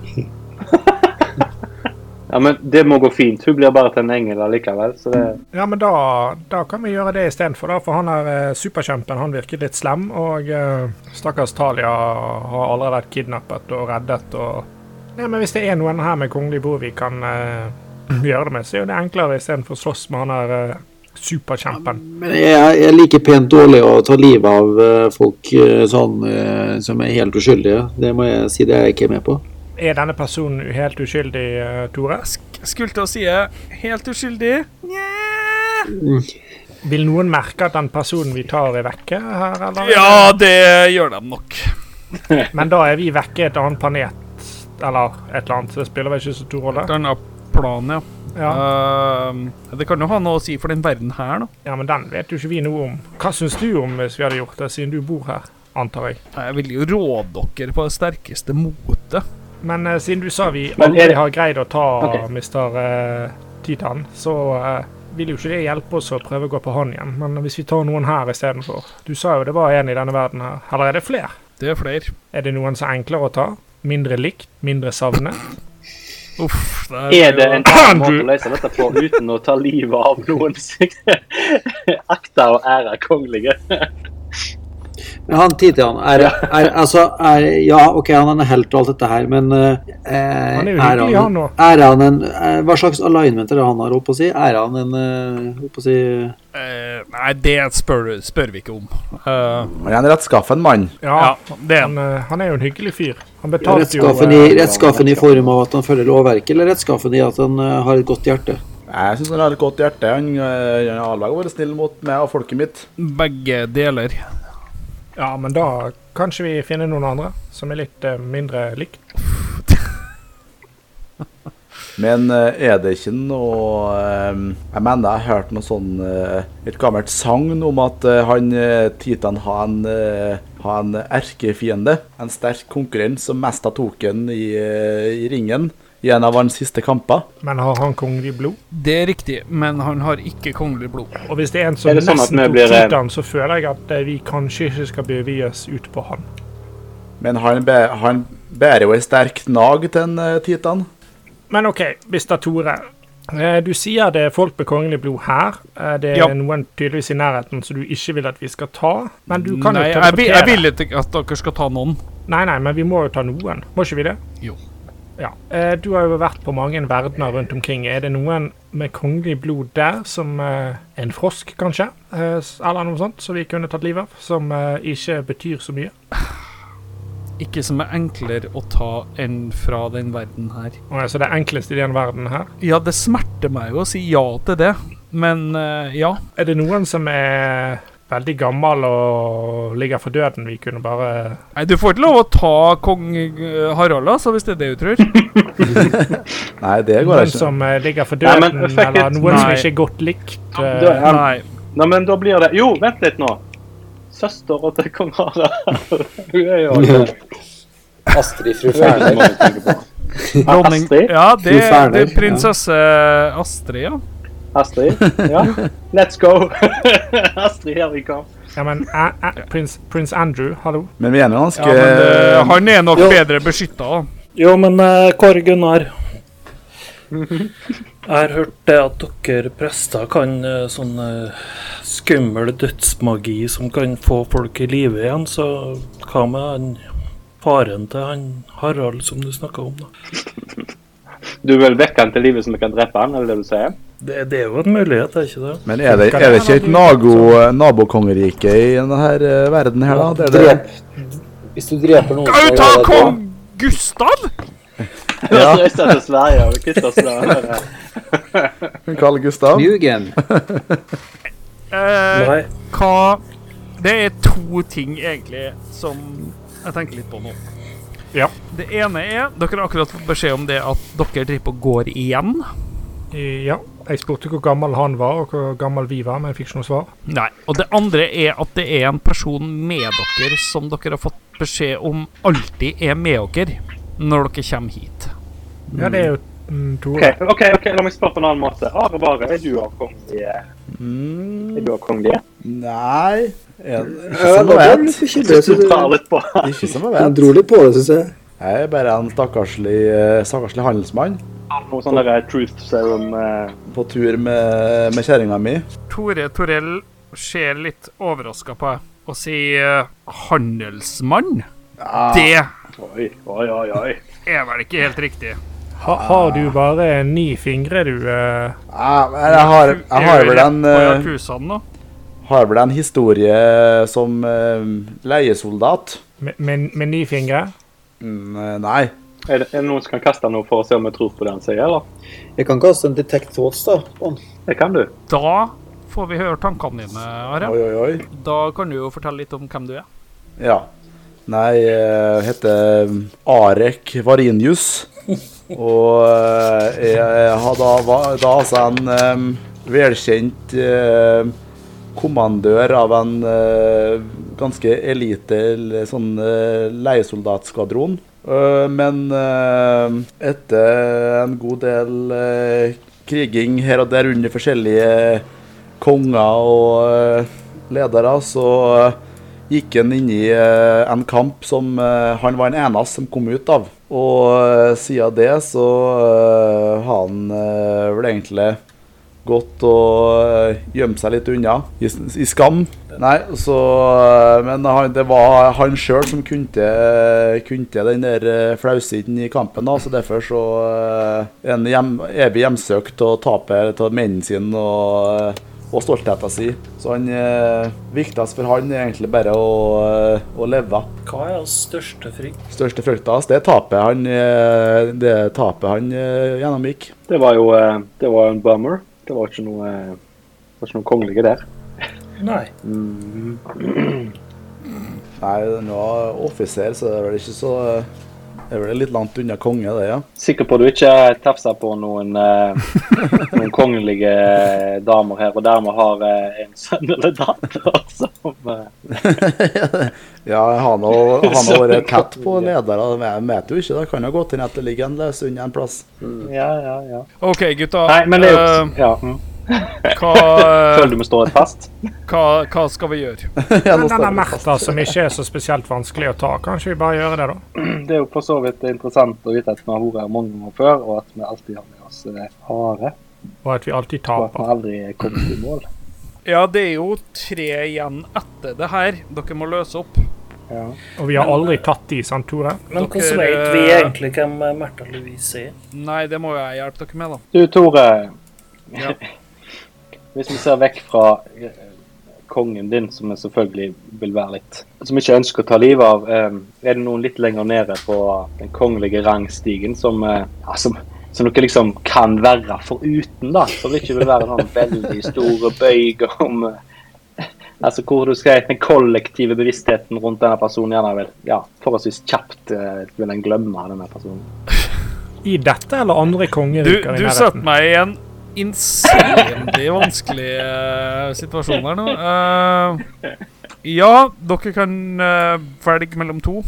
Speaker 4: Ja, men det må gå fint. Hun blir bare til en engel allikevel, så det
Speaker 2: Ja, men da, da kan vi gjøre det istedenfor, da. For han er eh, superkjempen. Han virket litt slem. Og eh, stakkars Talia har allerede vært kidnappet og reddet og Nei, men hvis det er noen her med kongelig bord vi kan eh, gjøre det med, så er jo det enklere istedenfor å slåss med han der eh, superkjempen.
Speaker 3: Men jeg, jeg liker pent dårlig å ta livet av eh, folk eh, sånn eh, som er helt uskyldige. Det må jeg si, det er jeg ikke med på.
Speaker 2: Er denne personen helt uskyldig, eh, Tore?
Speaker 1: Jeg skulle til å si jeg er helt uskyldig. Nja.
Speaker 2: Vil noen merke at den personen vi tar, er vekke her, eller?
Speaker 1: Ja, det gjør de nok.
Speaker 2: Men da er vi vekke et annet planet, eller et eller annet. Det spiller vel ikke så stor rolle?
Speaker 1: Et annet plan, ja.
Speaker 2: Ja.
Speaker 1: Ehm, det kan jo ha noe å si for den verden her, da.
Speaker 2: ja, men den vet jo ikke vi noe om. Hva syns du om eh, hvis vi hadde gjort det, siden du bor her? Antar jeg.
Speaker 1: Jeg vil jo råde dere på det sterkeste motet
Speaker 2: Men eh, siden du sa vi
Speaker 4: Men
Speaker 2: aldri
Speaker 4: er det-
Speaker 2: har greid å ta
Speaker 4: Ok.
Speaker 2: Mr. eh, Titan, så eh, vil jo ikke det hjelpe oss å prøve å gå på han igjen. Men hvis vi tar noen her istedenfor Du sa jo det var en i denne verden her. Eller er det flere?
Speaker 1: Det er flere.
Speaker 2: Er det noen som er enklere å ta? Mindre likt? Mindre savnet?
Speaker 1: Uff, det er,
Speaker 4: Er det en annen måte
Speaker 2: Andrew.
Speaker 4: å løse dette på uten å ta livet av noen? Akta og ære kongelige.
Speaker 3: Men han Titian er, er Altså, er, ja, OK, han er en helt og alt dette her, men eh,
Speaker 2: Han er jo
Speaker 3: er,
Speaker 2: hyggelig, han
Speaker 3: han,
Speaker 2: nå.
Speaker 3: er han en eh, Hva slags alignment er det han har, holdt på å si? Er han en eh, holdt på å si
Speaker 1: eh, Nei, det spør, spør vi ikke om. Eh,
Speaker 8: Han er en rettskaffen mann.
Speaker 2: Ja,
Speaker 1: ja, det er han.
Speaker 2: han, eh, han er jo en hyggelig fyr. Han
Speaker 3: ja,
Speaker 2: betalte jo
Speaker 3: rettskaffen, i,
Speaker 2: eh,
Speaker 3: rettskaffen i form av at han følger lovverket, eller rettskaffen i at han eh, har et godt hjerte?
Speaker 8: Jeg syns han har et godt hjerte. Han, eh, han har alltid vært snill mot meg og folket mitt.
Speaker 1: Begge deler.
Speaker 2: Ja, men da kanskje vi finner noen andre som er litt eh, mindre likt.
Speaker 8: Men eh, er det ikke noe eh, Jeg mener jeg hørte noe sånn eh, et gammelt sagn om at eh, han eh, Titan har en, eh, har en erkefiende. En sterk konkurrent som mest har tok han i, eh, i ringen i en av hans siste kamper.
Speaker 2: Men har han kongelig blod?
Speaker 1: Det er riktig, men han har ikke kongelig blod.
Speaker 2: Og hvis det er en som
Speaker 4: Er det sånn at
Speaker 2: nesten
Speaker 4: vi
Speaker 2: tok
Speaker 4: blir, eh,
Speaker 2: Titan, så føler jeg at eh, vi kanskje ikke skal bevege oss ut på han.
Speaker 8: Men han, bæ- han bærer jo ei sterk nag til en eh, Titan.
Speaker 2: Men OK, Bister Tore. Eh, Du sier det er folk med kongelig blod her. Eh, Det er
Speaker 1: Ja.
Speaker 2: noen tydeligvis i nærheten som du ikke vil at vi skal ta. Men du kan
Speaker 1: nei,
Speaker 2: jo
Speaker 1: jeg, vil- jeg
Speaker 2: teleportere.
Speaker 1: vil ikke at dere skal ta noen.
Speaker 2: Nei, nei, men vi må jo ta noen. Må ikke vi det?
Speaker 1: Jo.
Speaker 2: Ja. Eh, Du har jo vært på mange verdener rundt omkring. Er det noen med kongelig blod der, som eh, en frosk kanskje, eh, s- eller noe sånt, som vi kunne tatt livet av, som eh, ikke betyr så mye?
Speaker 1: Ikke som er enklere å ta enn fra den verden her.
Speaker 2: Og, eh, Så det er enklest i den verden her.
Speaker 1: Ja, det smerter meg jo å si ja til det, men eh, ja.
Speaker 2: Er det noen som er veldig gammel og ligger for døden, vi kunne bare
Speaker 1: Nei, du får ikke lov å ta kong eh, Harald, altså, hvis det er det du tror.
Speaker 8: Nei, det går
Speaker 2: Noen
Speaker 8: ikke.
Speaker 2: som eh, ligger for
Speaker 4: Nei,
Speaker 2: døden,
Speaker 4: men fuck
Speaker 2: eller
Speaker 4: it.
Speaker 2: noen som
Speaker 1: Nei.
Speaker 2: ikke er godt likt. eh,
Speaker 4: Da, ja.
Speaker 1: Nei.
Speaker 4: Nei, men da blir det Jo, vent litt nå. Søstera til kong Harald. Hun er jo
Speaker 5: Astrid fru
Speaker 4: hun er ikke så mange å tenke på.
Speaker 1: Dronning
Speaker 4: Astrid?
Speaker 1: Ja, det,
Speaker 3: Fru
Speaker 1: det er
Speaker 3: Ferner,
Speaker 1: prinsesse Astrid, ja.
Speaker 4: Astrid? Ja. Let's go. Astrid, here we come.
Speaker 2: ja, men eh, eh, prins, prins Andrew, hallo?
Speaker 8: Men vi er nå ganske
Speaker 1: ja men eh, han er nok
Speaker 6: Jo.
Speaker 1: bedre beskytta, da.
Speaker 6: Jo, men eh, Kåre Gunnar. Jeg har hørt det at dere prester kan eh, sånn eh, skummel dødsmagi som kan få folk i live igjen, så hva med han faren til han Harald som du snakka om, da?
Speaker 4: Du vil vekke han til livet så vi kan drepe han, er det det du sier?
Speaker 6: Det, det er jo en mulighet, er ikke det?
Speaker 8: Men er det, er det ikke et nago- nabokongerike i denne verden her, da? Det er det.
Speaker 5: Drep. Hvis du dreper noen
Speaker 1: Skal
Speaker 5: så
Speaker 1: du ta
Speaker 5: er det-
Speaker 1: kong Gustav?
Speaker 4: Ja. Reise til Sverige og kutte oss der. eh,
Speaker 8: Carl Gustav?
Speaker 3: Mugen.
Speaker 1: Eh,
Speaker 6: Nei.
Speaker 1: hva Det er to ting egentlig som jeg tenker litt på nå.
Speaker 2: Ja.
Speaker 1: Det ene er Dere har akkurat fått beskjed om det at dere driver på går igjen.
Speaker 2: Eh, Ja. Jeg spurte hvor gammel han var, og hvor gammel vi var, men jeg fikk ikke noe svar.
Speaker 1: Nei. Og det andre er at det er en person med dere som dere har fått beskjed om alltid er med dere når dere kommer hit.
Speaker 2: Ja, det er jo mm, Tore.
Speaker 4: Ok, ok, ok, la meg spørre på en annen måte. Are Bare, er du av kongelige?
Speaker 8: Mm,
Speaker 4: Er du av kongelige?
Speaker 8: nei Er- Ikke
Speaker 3: Ja,
Speaker 8: som
Speaker 3: da ble du
Speaker 8: jeg vet.
Speaker 3: litt bekymret,
Speaker 4: Hvis
Speaker 3: så
Speaker 4: du tar
Speaker 3: du-
Speaker 4: litt på
Speaker 8: Ikke som jeg
Speaker 3: Han
Speaker 8: vet.
Speaker 3: dro litt på det, syns jeg.
Speaker 8: Jeg er bare en stakkarslig, eh, stakkarslig handelsmann
Speaker 4: noe sånn der truth serum eh,
Speaker 8: på tur med, med kjerringa mi.
Speaker 1: Tore Torell ser litt overraska på deg og sier eh, 'handelsmann'. Det
Speaker 4: Oi, oi, oi, oi.
Speaker 1: er vel ikke helt riktig.
Speaker 2: Ha, har du bare ni fingre, du? eh?
Speaker 8: Ah, men Jeg har, jeg har vel en
Speaker 1: På
Speaker 8: eh,
Speaker 1: Yakuzaen nå.
Speaker 8: Har vel en historie som eh, leiesoldat.
Speaker 2: Med, med, med ni fingre?
Speaker 8: Mm, eh, nei.
Speaker 4: Er det, er det noen som kan kaste noe for å se om jeg tror på det han sier, eller?
Speaker 3: Jeg kan kaste en detect thoughts, da. på han.
Speaker 4: Det kan du.
Speaker 1: Da får vi høre tankene dine, Are.
Speaker 8: Oi, oi, oi.
Speaker 1: Da kan du jo fortelle litt om hvem du er.
Speaker 8: Ja. Nei, jeg heter eh, Arek Varinius. Og eh, jeg har da, var da altså en em, velkjent eh, kommandør av en eh, ganske elite eller sånn eh, leiesoldatskvadron. Eh, men eh, etter en god del eh, kriging her og der under forskjellige konger og eh, ledere, så eh, gikk han inn i eh, en kamp som eh, han var den eneste som kom ut av. Og eh, siden det så eh, har han eh, vel egentlig gått og eh, gjemt seg litt unna i, s- i skam. Nei, så eh, Men han, det var han sjøl som kunne, kunne den der eh, flausiden i kampen, da, så derfor så eh, er han hjem, evig hjemsøkt og taper av mennene sine og eh, og stoltheten sin. Så han eh, viktigst for han er egentlig bare å, eh, å leve.
Speaker 6: Hva er hans største frykt?
Speaker 8: Største frykta hans, det er tapet han, eh, det er tapet han eh, gjennomgikk.
Speaker 4: Det var jo eh, det var en bummer. Det var ikke noe, eh, det var ikke noe kongelige der.
Speaker 6: Nei.
Speaker 4: Mm.
Speaker 8: Nei, nå er offiser, så det er vel ikke så eh, Det er vel litt langt unna konge, det, ja.
Speaker 4: Sikker på du ikke tafsa på noen, eh, noen kongelige eh, damer her, og dermed har eh, en sønn eller datter som eh,
Speaker 8: Ja, han har han har vært tett på ledere, men jeg vet jo ikke. Det kan jo godt hende at det ligger en løs unna en plass.
Speaker 4: Ja, ja, ja.
Speaker 1: OK, gutta.
Speaker 4: Nei, men det er jo
Speaker 1: eh,
Speaker 4: ja. mm.
Speaker 1: hva, eh,
Speaker 4: Føler du vi står litt fast?
Speaker 1: hva, hva skal vi gjøre?
Speaker 8: Ja, nå
Speaker 2: Men
Speaker 8: står
Speaker 2: denne
Speaker 8: det fast.
Speaker 2: Märtha som ikke er så spesielt vanskelig å ta, kanskje vi bare gjør det, da?
Speaker 4: Det er jo for så vidt interessant å vite at vi har vært her mange år før, og at vi alltid har med oss eh, hare.
Speaker 2: Og at vi alltid
Speaker 4: Og at
Speaker 2: taper.
Speaker 4: vi aldri er kommet i mål.
Speaker 1: Ja, det er jo tre igjen etter det her. Dere må løse opp.
Speaker 4: Ja.
Speaker 2: Og vi har aldri tatt de, sant, Tore?
Speaker 6: Men hvordan
Speaker 1: Dere,
Speaker 6: vet vi
Speaker 1: eh,
Speaker 6: egentlig hvem eh, Märtha Louise er?
Speaker 1: Nei, det må jeg hjelpe dere med, da.
Speaker 4: Du, Tore.
Speaker 1: Ja.
Speaker 4: Hvis vi ser vekk fra eh, kongen din, som vi selvfølgelig vil være litt Som ikke ønsker å ta livet av, eh, er det noen litt lenger nede på den kongelige rangstigen som, eh, ja, som som dere liksom kan være foruten, da. Som ikke vil være sånn veldig store bøyg om eh, Altså hvor du skal Den kollektive bevisstheten rundt denne personen gjerne vil Ja, forholdsvis kjapt eh, vil en glemme denne personen.
Speaker 2: I dette eller andre
Speaker 1: Du,
Speaker 2: kongeriker i
Speaker 1: du satte
Speaker 2: nærheten?
Speaker 1: meg i en insanely vanskelig eh, situasjon her nå. Eh, ja, dere kan eh, velge mellom to.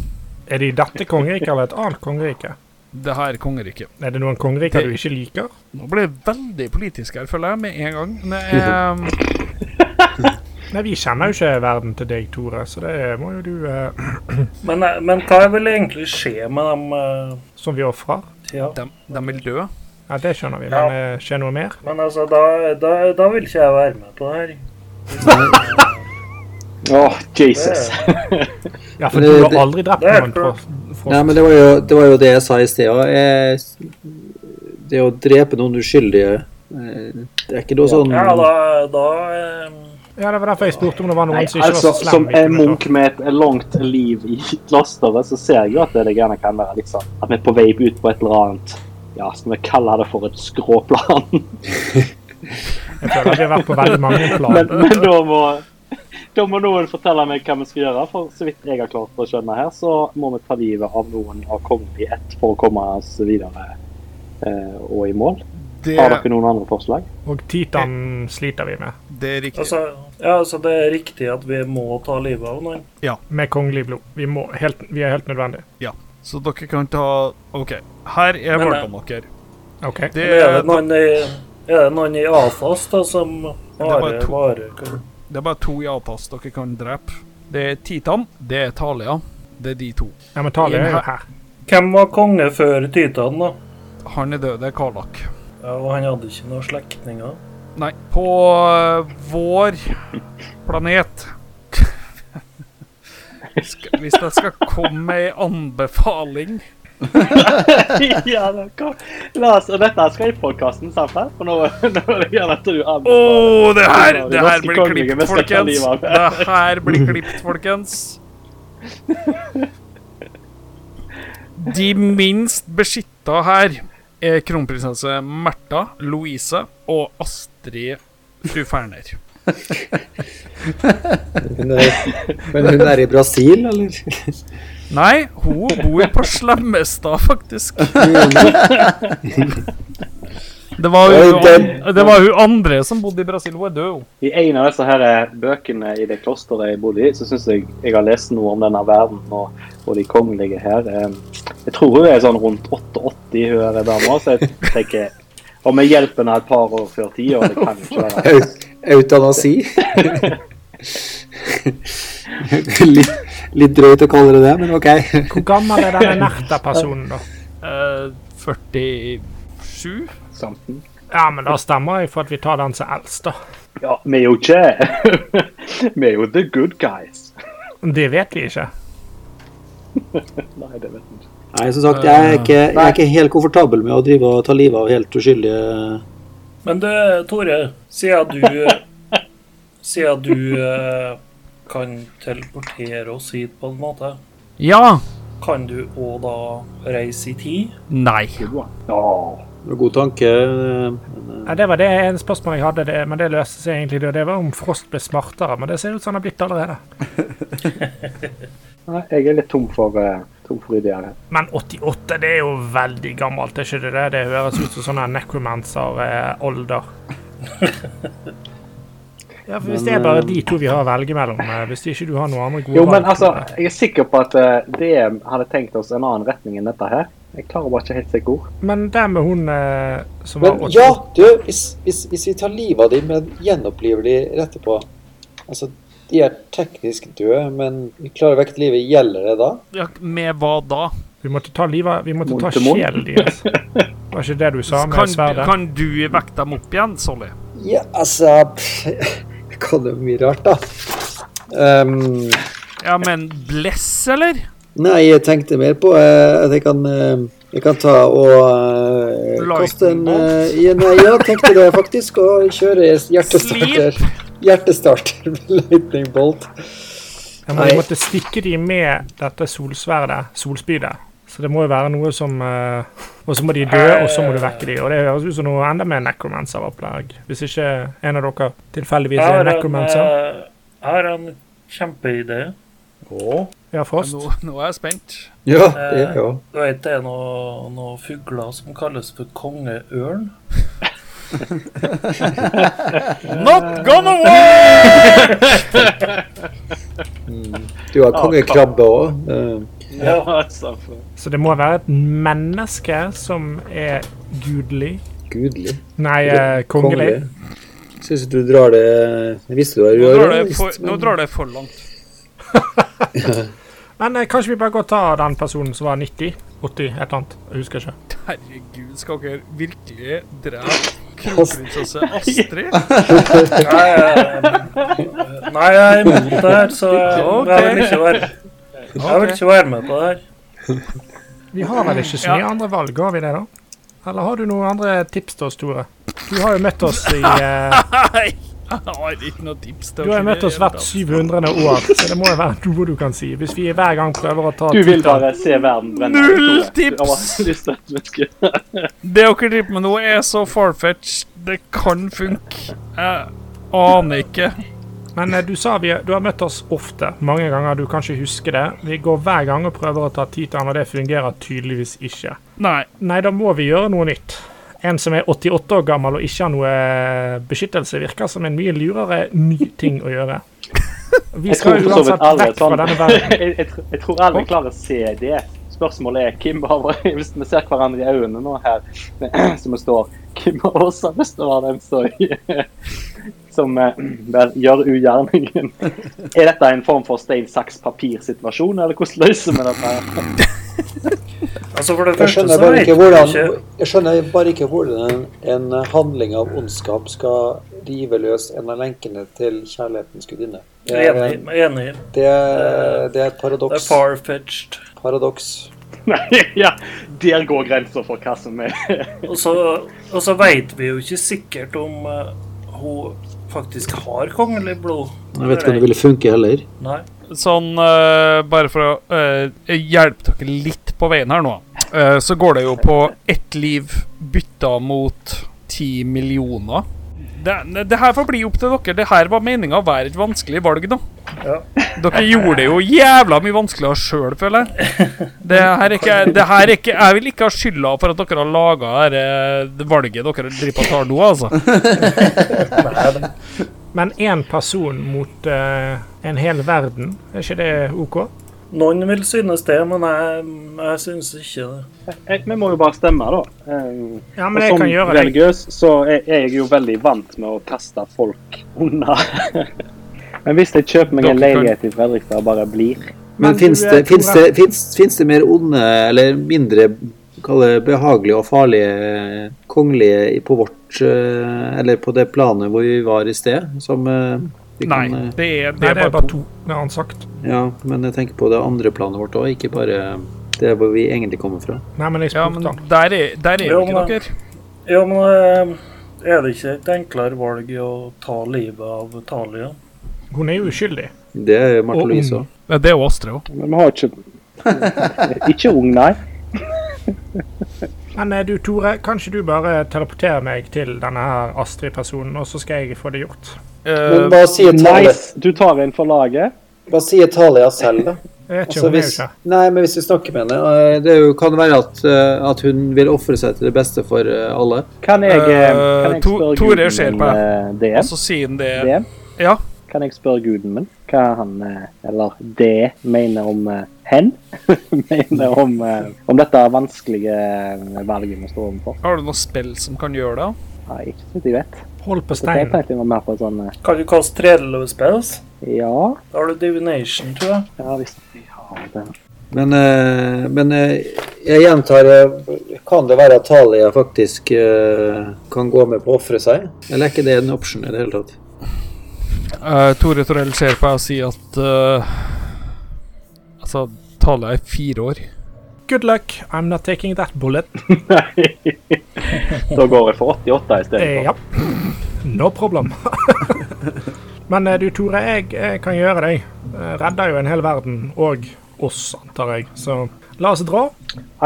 Speaker 2: Er det i dette kongeriket eller et annet kongerike?
Speaker 1: Det her er kongeriket.
Speaker 2: Er det noen kongeriker du ikke liker?
Speaker 1: Nå ble det veldig politisk her, føler jeg, med en gang. Men, eh,
Speaker 2: Nei, vi kjenner jo ikke verden til deg, Tore, så det må jo du eh,
Speaker 6: Men, eh, men hva vil egentlig skje med dem? eh,
Speaker 2: Som vi ofrer.
Speaker 6: Ja.
Speaker 1: de, de vil dø.
Speaker 2: Ja, det skjønner vi,
Speaker 6: Ja.
Speaker 2: men eh, skjer noe mer?
Speaker 6: Men altså, da, da, da vil ikke jeg være med på det her.
Speaker 4: Å, Jesus.
Speaker 2: Ja, for
Speaker 3: Men
Speaker 2: du
Speaker 3: det-
Speaker 2: har aldri drept
Speaker 6: det er
Speaker 2: noen fra, fra
Speaker 3: Nei, men det var, jo, det var jo det jeg sa i sted. og jeg- Det å drepe noen uskyldige eh, Det er ikke noe sånn
Speaker 6: Ja, da, da eh,
Speaker 2: Ja, det var derfor jeg spurte om det var noen
Speaker 4: Nei,
Speaker 2: som ikke
Speaker 4: altså,
Speaker 2: var så
Speaker 4: som
Speaker 2: slem. vi
Speaker 4: en
Speaker 2: kunne ta.
Speaker 4: munk med et langt liv i klosteret, så ser jeg jo at det gjerne kan være litt sånn at vi er på vei ut på et eller annet Ja, skal vi kalle det for et skråplan?
Speaker 2: Jeg føler at vi har vært på veldig mange
Speaker 4: Men,
Speaker 2: plan.
Speaker 4: men da, må, da må noen fortelle meg hva vi skal gjøre. For så vidt jeg har klart å skjønne her, så må vi ta livet av noen av kongen i ett for å komme oss videre eh, og i mål.
Speaker 1: Det,
Speaker 4: Har dere noen andre forslag?
Speaker 2: Og Titan sliter vi med.
Speaker 1: det er riktig.
Speaker 6: altså, ja, altså, det er riktig at vi må ta livet av noen.
Speaker 2: Med kongelig blod. Vi, må, helt, vi er helt nødvendig.
Speaker 1: Så dere kan ta OK. Her er
Speaker 6: Men, eh,
Speaker 1: valgene deres.
Speaker 2: OK.
Speaker 1: Det
Speaker 6: Men Er
Speaker 1: er,
Speaker 6: det noen i, er det noen i AFAS da, som
Speaker 1: var
Speaker 6: bare,
Speaker 1: to.
Speaker 6: bare kan
Speaker 1: det er bare to ja-pass dere kan drepe. Det er Titan, det er Thalia. Det er de to.
Speaker 2: Ja, men Talia er jo her.
Speaker 6: Hvem var konge før Titan, da?
Speaker 1: Han er død, det er Karlak.
Speaker 6: Ja, og han hadde ikke noen slektninger.
Speaker 1: Nei, på eh, vår planet Skal- Hvis jeg skal komme med ei anbefaling
Speaker 4: ja, det kan. La oss, og dette skal i podkasten, sant? Her? For nå, nå vil jeg gjerne at du
Speaker 1: Å,
Speaker 4: anbefaler.
Speaker 1: det her
Speaker 4: Ja, de
Speaker 1: det her
Speaker 4: norske
Speaker 1: blir
Speaker 4: kongelige
Speaker 1: klipt,
Speaker 4: beste kan
Speaker 1: folkens!
Speaker 4: livet av.
Speaker 1: Det her blir klipt, folkens. De minst beskytta her er kronprinsesse Märtha Louise og Astrid fru Ferner.
Speaker 3: hun er, Men hun er i Brasil, eller?
Speaker 1: Nei, hun bor på Slemmestad, faktisk. Det var
Speaker 5: Oi,
Speaker 1: jo
Speaker 5: den-
Speaker 1: det var hun andre som bodde i Brasil. Hun er død. hun.
Speaker 4: I en av disse her eh, bøkene i det klosteret jeg bodde i, så syns jeg jeg har lest noe om denne verden og, og de kongelige her. Eh, Jeg tror hun er sånn rundt 88, hun her dama, så jeg tenker om jeg hjelper henne et par år før tida, det kan jo ikke være
Speaker 3: Au- Eutanasi. litt, litt drøyt å kalle det det, men OK.
Speaker 2: Hvor gammel er denne Nerta-personen, da?
Speaker 1: Eh, 47?
Speaker 4: samten.
Speaker 2: Ja, men da stemmer jeg for at vi tar den som eldst, da.
Speaker 4: Ja, vi er jo ikke Vi er jo the good guys.
Speaker 2: Det vet vi ikke.
Speaker 4: Nei, det vet jeg ikke.
Speaker 3: Nei, som sagt, jeg er ikke, jeg er ikke helt komfortabel med å drive og ta livet av helt uskyldige
Speaker 6: Men du, Tore, siden du Siden du eh, kan teleportere oss hit på en måte,
Speaker 1: Ja.
Speaker 6: kan du òg da reise i tid?
Speaker 1: Nei.
Speaker 3: God tanke. Men,
Speaker 2: Ja, det var det ene spørsmålet jeg hadde, det, men det løste seg egentlig. Det, det var om Frost ble smartere, men det ser ut som han har blitt allerede.
Speaker 4: Nei, jeg er litt tom for, eh, tom for ideer. her.
Speaker 2: Men 88, det er jo veldig gammelt, er ikke det det? Det høres ut som sånne eh, necromancer-older. Ja, for Hvis det er bare de to vi har å velge mellom, eh, hvis ikke du har noen andre gode
Speaker 4: eh, Jo,
Speaker 2: valg,
Speaker 4: men
Speaker 2: eh,
Speaker 4: altså, jeg er sikker på at eh, DM hadde tenkt oss en annen retning enn dette her. Jeg klarer bare ikke helt se hvor.
Speaker 2: Men det med hun eh, som var
Speaker 5: Men
Speaker 2: 88
Speaker 5: ja, du, hvis, hvis, hvis vi tar livet av dem, men gjenoppliver de etterpå Altså, de er teknisk døde, men vi klarer å vekke til live. Gjelder det da?
Speaker 1: Ja, med hva da?
Speaker 2: Vi måtte ta livet Vi måtte
Speaker 4: Munn
Speaker 2: ta
Speaker 4: til munn.
Speaker 2: sjelen deres. Var ikke det du sa med
Speaker 1: Kan,
Speaker 2: sverdet?
Speaker 1: kan du vekke dem opp igjen, Solly?
Speaker 5: Ja, altså pff, Jeg kan jo mye rart, da.
Speaker 3: Ehm,
Speaker 1: Ja, men bless, eller?
Speaker 3: nei, jeg tenkte mer på eh, at jeg kan eh, jeg kan ta og eh, kaste en eh, ja, Nei, jeg tenkte det faktisk. Å kjøre hjertestarter. Hjertestarter med lightning bolt.
Speaker 2: Ja, men vi
Speaker 3: Nei.
Speaker 2: måtte stikke de med dette solsverdet, solspydet. Så det må jo være noe som eh, Og så må de dø, og så må du vekke de. Og det høres ut som noe enda mer necromancer-opplegg. Hvis ikke en av dere tilfeldigvis
Speaker 6: Jeg
Speaker 2: er
Speaker 6: har en,
Speaker 2: necromancer.
Speaker 6: eh, jeg har en kjempeidé.
Speaker 8: Å?
Speaker 2: Ja, Frost.
Speaker 1: Nå, nå er jeg spent.
Speaker 3: Ja, det
Speaker 1: Eh,
Speaker 3: er jo
Speaker 6: Du vet det er noen noe fugler som kalles for kongeørn?
Speaker 1: Not gonna work!
Speaker 3: Du har kongekrabbe eh, òg.
Speaker 4: Ja, altså. for-
Speaker 2: Så det må være et menneske som er gudelig.
Speaker 3: gudelig.
Speaker 2: Nei, eh, kongelig.
Speaker 3: Syns du drar det Jeg visste du var
Speaker 1: Nå drar det
Speaker 3: ruralist,
Speaker 1: for, nå
Speaker 3: men-
Speaker 1: drar det for langt.
Speaker 2: Men eh, kanskje vi bare går og tar den personen som var 90? 80? Et eller annet. Jeg husker ikke.
Speaker 1: Herregud, skal dere virkelig drepe kronprinsesse Astrid?
Speaker 6: Nei, eh, nei, jeg er imot det her, så jeg vil ikke være, jeg vil ikke være med på det her.
Speaker 2: Vi har vel ikke så mye andre valg, har vi det, da? Eller har du noen andre tips til oss, Tore? Du har jo møtt oss i eh,
Speaker 1: Nei, jeg har ikke noe tips til
Speaker 2: Du har jo
Speaker 1: dere
Speaker 2: møtt oss
Speaker 1: i det
Speaker 2: hvert
Speaker 1: hele tatt.
Speaker 2: 700. år, så det må jo være noe du kan si. Hvis vi hver gang prøver å ta
Speaker 4: Du vil
Speaker 2: Twitter-
Speaker 4: bare se verden brenne.
Speaker 1: Null
Speaker 4: Tore.
Speaker 1: tips!
Speaker 4: Du har bare lyst til at vi skal-
Speaker 1: Det dere driver med nå, er så farfetched. Det kan funke. Jeg aner ikke.
Speaker 2: Men eh, du sa vi, du har møtt oss ofte, mange ganger, du kan ikke huske det. Vi går hver gang og prøver å ta tid til han, og det fungerer tydeligvis ikke.
Speaker 1: Nei.
Speaker 2: Nei, da må vi gjøre noe nytt. En som er 88 år gammel og ikke har noe eh, beskyttelse, virker som en mye lurere ny ting å gjøre. Vi
Speaker 4: Jeg tror
Speaker 2: skal
Speaker 4: for så vidt
Speaker 2: uansett
Speaker 4: alle er
Speaker 2: vekk fra
Speaker 4: sånn.
Speaker 2: denne verden.
Speaker 4: Jeg, jeg, tr- jeg tror alle klarer å se det. Spørsmålet er hvem av oss Hvis vi ser hverandre i øynene nå her, som vi står Hvem av oss har lyst til å være den som, som eh, vel, gjør ugjerningen? Er dette en form for stein, saks, papir-situasjon, eller hvordan løser vi dette? her?
Speaker 6: Altså, for det
Speaker 5: Jeg
Speaker 6: første
Speaker 5: skjønner
Speaker 6: så
Speaker 5: bare
Speaker 6: vet
Speaker 5: ikke
Speaker 6: jeg
Speaker 5: hvordan,
Speaker 6: ikke
Speaker 5: jeg skjønner bare ikke hvordan en, en handling av ondskap skal rive løs en av lenkene til kjærlighetens gudinne. Det er,
Speaker 6: Enig. enig.
Speaker 5: det er, det er et
Speaker 6: Det er
Speaker 5: paradoks.
Speaker 6: far-fetched.
Speaker 5: paradoks.
Speaker 4: Nei, ja, der går grensa for hva som er
Speaker 6: Og så- og så veit vi jo ikke sikkert om eh, hun faktisk har kongelig blod.
Speaker 3: Jeg vet ikke om det ville funke heller.
Speaker 6: Nei.
Speaker 1: Sånn, eh, bare for å eh, hjelpe dere litt på veien her nå, eh, så går det jo på ett liv bytta mot ti millioner. Det, det her får bli opp til dere. Det her var meninga å være et vanskelig valg, da. Dere gjorde det jo jævla mye vanskeligere sjøl, føler jeg. Det her er ikke, det her er ikke Jeg vil ikke ha skylda for at dere har laga dette eh, valget dere driver og tar nå, altså.
Speaker 2: Men én person mot eh, en hel verden, er ikke det OK?
Speaker 6: Noen vil synes det, men jeg, jeg synes ikke det.
Speaker 4: Jeg, Eh, vi må jo bare stemme, da. Eh,
Speaker 2: Ja,
Speaker 4: og
Speaker 2: men jeg
Speaker 4: som
Speaker 2: kan gjøre det.
Speaker 4: religiøs så er er jeg jo veldig vant med å kaste folk unna. Men hvis jeg kjøper meg en
Speaker 1: Dere kan-
Speaker 4: leilighet i Fredrikstad og bare blir
Speaker 2: Men
Speaker 3: Men
Speaker 2: du,
Speaker 3: fins
Speaker 2: eh,
Speaker 3: det, finnes
Speaker 2: Tore-
Speaker 3: det, finnes, finnes det mer onde eller mindre kall det, behagelige og farlige eh, kongelige i- på vårt eh, Eller på det planet hvor vi var i sted, som eh, vi
Speaker 1: Nei,
Speaker 3: kan, eh,
Speaker 1: det er,
Speaker 2: Nei, det er bare to, det har han sagt.
Speaker 3: Ja, men jeg tenker på det andre planet vårt òg, ikke bare det hvor vi egentlig kommer fra.
Speaker 2: Nei, men jeg
Speaker 1: Ja,
Speaker 2: spurte
Speaker 1: men
Speaker 2: han.
Speaker 1: der er, der er jo
Speaker 6: Jo,
Speaker 1: ikke
Speaker 6: men-
Speaker 1: dere.
Speaker 6: Ja, men eh, er det ikke et enklere valg i å ta livet av Talia?
Speaker 2: Hun er jo uskyldig.
Speaker 3: Det er jo Marte
Speaker 2: Og
Speaker 3: Louise
Speaker 2: ung.
Speaker 3: òg.
Speaker 1: Ja, Det er jo Astrid òg.
Speaker 4: Men vi har ikke Ikke ung, nei.
Speaker 2: Men eh, du, Tore, kanskje du bare teleporterer meg til denne her Astrid-personen, og så skal jeg få det gjort. Eh,
Speaker 5: Men hva sier Talia,
Speaker 4: Nice. Du tar en for laget.
Speaker 5: hva sier Talia selv, da?
Speaker 2: Jeg vet ikke,
Speaker 5: Altså,
Speaker 2: hun er jo
Speaker 5: hvis,
Speaker 2: ikke.
Speaker 5: nei, men hvis vi snakker med henne
Speaker 3: Eh, Det er jo, kan være at, eh, at hun vil ofre seg til det beste for eh, alle.
Speaker 4: Kan jeg, eh,
Speaker 1: Eh,
Speaker 4: kan jeg
Speaker 1: To-
Speaker 4: spørre
Speaker 1: Tore
Speaker 4: guden
Speaker 1: ser
Speaker 4: min
Speaker 1: på
Speaker 4: eh, det?
Speaker 1: Og så sier han det
Speaker 4: det?
Speaker 1: Ja.
Speaker 4: Kan jeg spørre guden min hva han, eh, eller det, mener om eh, hen? mener om, eh, om dette vanskelige eh, valget vi står overfor?
Speaker 1: Har du noe spill som kan gjøre det?
Speaker 4: Nei, ikke så vidt jeg vet.
Speaker 2: Hold på
Speaker 4: Så jeg
Speaker 2: steinen.
Speaker 4: tenkte jeg var mer på sånn eh,
Speaker 6: Kan du kaste tredjeløse spells?
Speaker 4: Ja,
Speaker 6: Da har du divination, tror jeg.
Speaker 4: ja hvis vi har det.
Speaker 3: Men, eh, men eh,
Speaker 5: Jeg gjentar eh, Kan det være at Talia faktisk eh, kan gå med på å ofre seg?
Speaker 3: Eller er ikke det en option i det hele tatt?
Speaker 1: Eh, Tore Torell ser på meg og sier at eh, Altså, Talia er fire år.
Speaker 2: Good luck, I'm not taking that bullet.
Speaker 4: Nei. da går jeg for 88 i stedet.
Speaker 2: Eh, ja. No problem. Men eh, du, Tore, jeg, jeg kan gjøre deg. Eh, Redder jo en hel verden, og oss, antar jeg. Så la oss dra.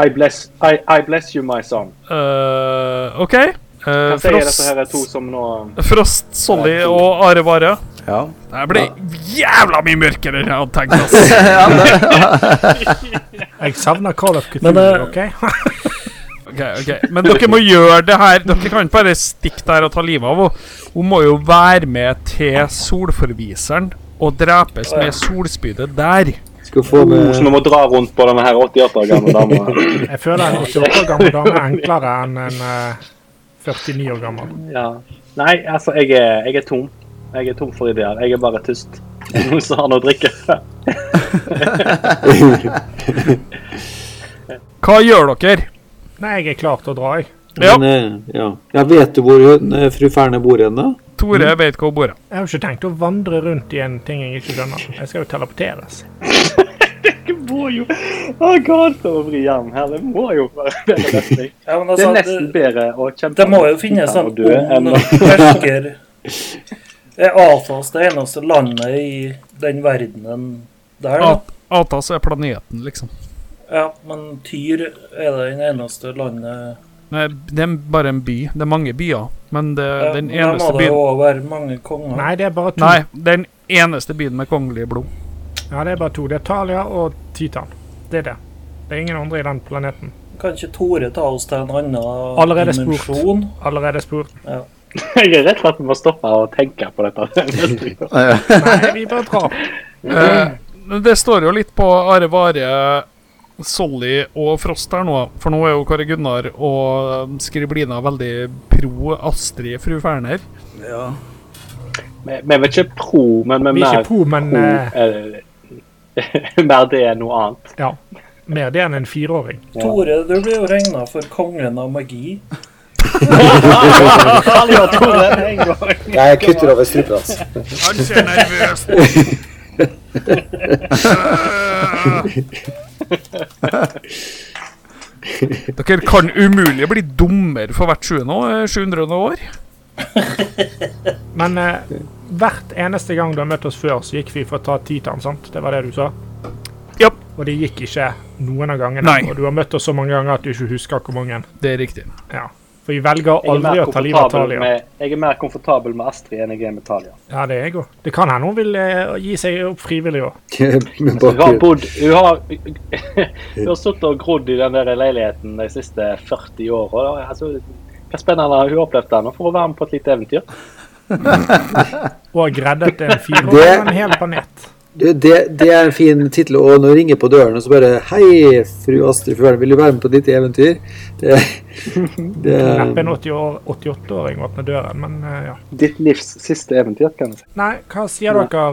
Speaker 4: I bless, I, I bless you, my son.
Speaker 1: Eh, OK. Eh,
Speaker 4: Hva sier dette her er to
Speaker 1: Frost,
Speaker 4: som nå
Speaker 1: Frost, Solly og Are Vare.
Speaker 8: Ja.
Speaker 1: Det ble jævla mye mørkere enn jeg hadde tenkt. ass.
Speaker 2: Jeg savner Call of Cthulhu,
Speaker 6: Men, eh,
Speaker 2: OK?
Speaker 1: Ok, ok. Men dere må gjøre det her. Dere kan ikke bare stikke der og ta livet av henne. Hun må jo være med til Solforviseren og drepes med solspydet der.
Speaker 3: Skal få
Speaker 4: Oh, Så
Speaker 3: med
Speaker 4: nå må vi dra rundt på denne her 88 år gamle dama.
Speaker 2: Jeg føler en 88 år gammel dame er enklere enn en eh, 49 år gammel.
Speaker 4: Ja. Nei, altså, jeg er, jeg er tom. Jeg er tom for ideer. Jeg er bare tyst. Noen som har noe å drikke.
Speaker 1: Hva gjør dere?
Speaker 2: Nei, jeg er klar til å dra, jeg.
Speaker 1: Ja,
Speaker 3: men, eh, ja. ja, vet du hvor hun, eh, fru Ferne bor hen, da?
Speaker 4: eh,
Speaker 1: Tore vet hvor hun bor.
Speaker 2: Jeg har jo ikke tenkt å vandre rundt i en ting jeg ikke skjønner. Jeg skal jo teleporteres.
Speaker 4: Jeg må jo Å, god, for å vri armen her. Det må jo være bedre løsning.
Speaker 6: Ja, men
Speaker 4: Det
Speaker 6: altså,
Speaker 4: er nesten
Speaker 6: det,
Speaker 4: bedre å kjempe
Speaker 6: det må jo finnes en
Speaker 4: og dø enn
Speaker 6: ond hersker. Er Athos det eneste landet i den verdenen der? da?
Speaker 1: At Atas er planeten, liksom.
Speaker 6: Ja, men Tyr er det den eneste landet
Speaker 1: Nei, det er bare en by. Det er mange byer. Men det,
Speaker 6: Ja,
Speaker 1: den
Speaker 6: men Der må
Speaker 1: eneste
Speaker 6: det
Speaker 1: byen
Speaker 6: jo også være mange konger.
Speaker 2: Nei, det er bare to.
Speaker 1: Nei, den eneste byen med kongelig blod.
Speaker 2: Ja, det er bare to. Det er Talia og Titan. Det er det. Det er ingen andre i den planeten.
Speaker 6: Kan ikke Tore ta oss til en annen
Speaker 2: Allerede spurt.
Speaker 6: dimensjon?
Speaker 2: Allerede spurt.
Speaker 4: Jeg er redd for at vi må stoppe å tenke på dette.
Speaker 2: Nei, vi bare drar.
Speaker 6: Mm.
Speaker 1: Eh, men det står jo litt på Are Vare, Solly og Frost her nå, for nå er jo Kari Gunnar og um, Skriblina veldig pro Astrid fru Ferner.
Speaker 4: Vi vi er vel ikke pro, men vi
Speaker 2: Vi er
Speaker 4: er mer
Speaker 2: ikke pro, men eh,
Speaker 4: eh, Mer det enn noe annet.
Speaker 2: ja. Mer det enn en fireåring.
Speaker 6: Tore, du blir jo regna for kongen av magi.
Speaker 4: Alle har to den en gang.
Speaker 5: Jeg kutter over strupen altså. hans.
Speaker 1: Han ser nervøs Dere kan umulig bli dummere for hvert 700 700 år.
Speaker 2: Men eh, hvert eneste gang du har møtt oss før, så gikk vi for å ta Titan, sant? Det var det du sa?
Speaker 1: Ja.
Speaker 2: Og det gikk ikke noen av gangene.
Speaker 1: Nei.
Speaker 2: Og du har møtt oss så mange ganger at du ikke husker hvor mange.
Speaker 1: Det er riktig.
Speaker 2: Ja. For jeg velger
Speaker 4: Jeg er,
Speaker 2: aldri
Speaker 4: mer
Speaker 2: å ta livet av
Speaker 4: komfortabel
Speaker 2: Talia.
Speaker 4: med, jeg er mer komfortabel med Astrid enn jeg er med Talia.
Speaker 2: Ja, det er jeg òg. Det kan hende hun vil eh, gi seg opp frivillig òg.
Speaker 4: Hun har bodd Hun har, hun har sittet og grodd i den der leiligheten de siste 40 åra. Altså, hva spennende har hun opplevd der nå for å være med på et lite eventyr?
Speaker 2: Og reddet en fyr og
Speaker 3: Det-
Speaker 2: en hel planet.
Speaker 3: Du, det, det er en fin tittel. Og når du ringer på døren og så bare Hei, fru Astrid Føhn, vil du være med på ditt eventyr? Det, det,
Speaker 2: Neppe en 80 år- 88-åring åpner døren, men eh, ja.
Speaker 4: Ditt livs siste eventyr, kan jeg si.
Speaker 2: Nei, hva sier dere,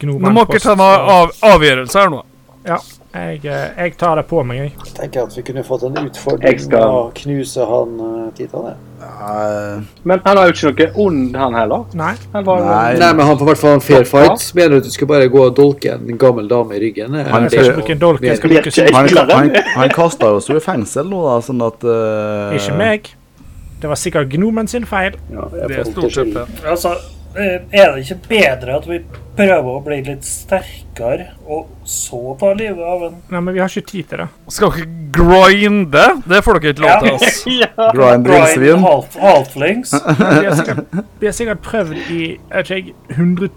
Speaker 1: Nå
Speaker 2: gnomen?
Speaker 1: må dere ta noen av, avgjørelse her nå.
Speaker 2: Jeg, eh, jeg tar det på meg, jeg.
Speaker 5: Jeg tenker at vi kunne fått en
Speaker 4: Jeg
Speaker 5: utfordring
Speaker 4: skal-
Speaker 5: med å knuse han eh, Titan. jeg.
Speaker 8: Eh,
Speaker 4: Men han var jo ikke noe ond, han heller.
Speaker 2: Nei.
Speaker 4: Han var jo
Speaker 8: nei,
Speaker 3: Nei, men han får i hvert fall en fair fight. Mener du at du skal bare gå og dolke en gammel dame i ryggen?
Speaker 8: Han
Speaker 2: Jeg skal
Speaker 8: er
Speaker 2: ikke bruke en dolk, jeg skal
Speaker 4: Blir
Speaker 2: bruke
Speaker 4: ikke
Speaker 2: syv.
Speaker 8: han,
Speaker 4: eklere.
Speaker 8: han, han kasta oss jo i fengsel nå, da, sånn at eh,
Speaker 2: Ikke meg. Det var sikkert gnomen sin feil.
Speaker 5: Ja, jeg
Speaker 1: Det er
Speaker 5: får
Speaker 1: stort sett
Speaker 5: til-
Speaker 1: det.
Speaker 9: Altså, eh, er det ikke bedre at vi prøver å bli litt sterkere, og så ta livet av en
Speaker 2: Nei, men vi har ikke tid til det.
Speaker 1: Skal dere grinde? Det får dere ikke lov til, ass.
Speaker 9: Ja.
Speaker 8: Grind villsvin.
Speaker 9: half, halflings?
Speaker 2: Men Vi har sikkert, vi har sikkert prøvd i vet ikke jeg, 100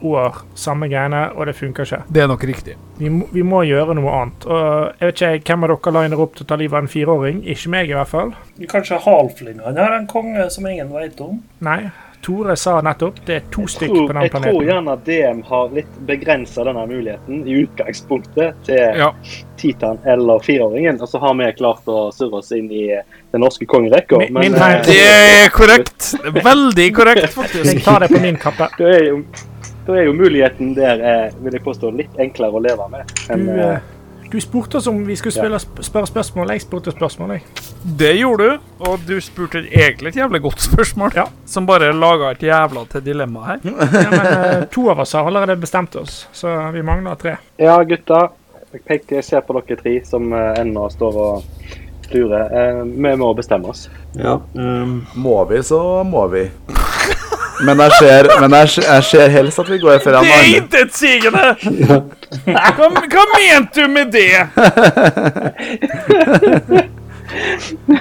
Speaker 2: 000 år samme greiene, og det funker ikke.
Speaker 1: Det er nok riktig.
Speaker 2: Vi må, vi må gjøre noe annet. Og jeg vet ikke jeg, hvem av dere liner opp til å ta livet av en fireåring. Ikke meg, i hvert fall.
Speaker 9: Kanskje halflingene har en konge som ingen veit om?
Speaker 2: Nei. Tore sa nettopp det er to
Speaker 4: Jeg
Speaker 2: stykk på
Speaker 4: tror,
Speaker 2: den
Speaker 4: jeg tror
Speaker 2: planeten.
Speaker 4: gjerne at DM har litt begrensa denne muligheten i utgangspunktet til
Speaker 1: Ja.
Speaker 4: Titan eller fireåringen. Og så har vi klart å surre oss inn i eh, den norske eh, kongerekka.
Speaker 2: Min- min heim-
Speaker 1: Det er korrekt. Veldig korrekt,
Speaker 2: Jeg
Speaker 1: faktisk.
Speaker 2: tar det på min kappe.
Speaker 4: Da er jo, da er jo muligheten der, eh, vil jeg påstå, litt enklere å leve med.
Speaker 2: Du,
Speaker 4: enn,
Speaker 1: Mm.
Speaker 4: eh,
Speaker 2: eh, du spurte oss om vi skulle spille, sp- spørre spørsmål. Jeg spurte spørsmål, jeg.
Speaker 1: Det gjorde du, og du spurte egentlig et jævlig godt spørsmål,
Speaker 2: Ja.
Speaker 1: som bare laga et jævla til dilemma her.
Speaker 2: Ja, men eh, to av oss har allerede bestemt oss, så vi mangler tre.
Speaker 4: Ja, gutta. Jeg peker, jeg ser på dere tre som eh, ennå står og lurer. Eh, vi må bestemme oss.
Speaker 5: Ja.
Speaker 8: Må vi, så må vi. Men jeg ser, men jeg, ser- jeg ser helst at vi går for en
Speaker 1: Det er
Speaker 8: annen.
Speaker 1: intetsigende! Hva, hva mente du med det?
Speaker 4: Så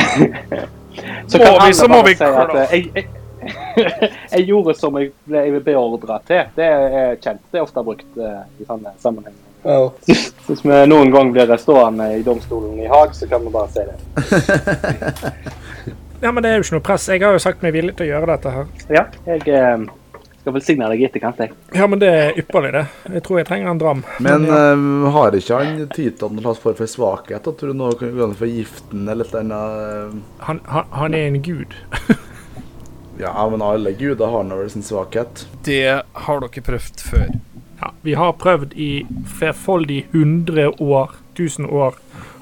Speaker 1: Må
Speaker 4: kan
Speaker 1: vi,
Speaker 4: alle
Speaker 1: så må
Speaker 4: bare
Speaker 1: vi
Speaker 4: si at, eh, jeg, jeg, jeg gjorde som jeg ble beordra til. Det er kjent. Det er ofte brukt eh, i sånne sammenhenger.
Speaker 5: Ja.
Speaker 4: Så Hvis vi noen gang blir stående i domstolen i Haag, så kan vi bare si det.
Speaker 2: Ja, men det er jo ikke noe press. Jeg har jo sagt meg villig til å gjøre dette her.
Speaker 4: Ja, jeg eh, skal velsigne deg i etterkant, jeg.
Speaker 2: Ja, men det er ypperlig, det. Jeg tror jeg trenger en dram.
Speaker 8: Men eh, har ikke han Titan noen form for svakhet? At du nå kan gå inn for giften eller et eller annet?
Speaker 2: Han, han, han er en gud.
Speaker 8: eh, Ja, men alle guder har nå vel sin svakhet.
Speaker 1: Det har dere prøvd før.
Speaker 2: Ja, vi har prøvd i flerfoldig 100 år, 1000 år,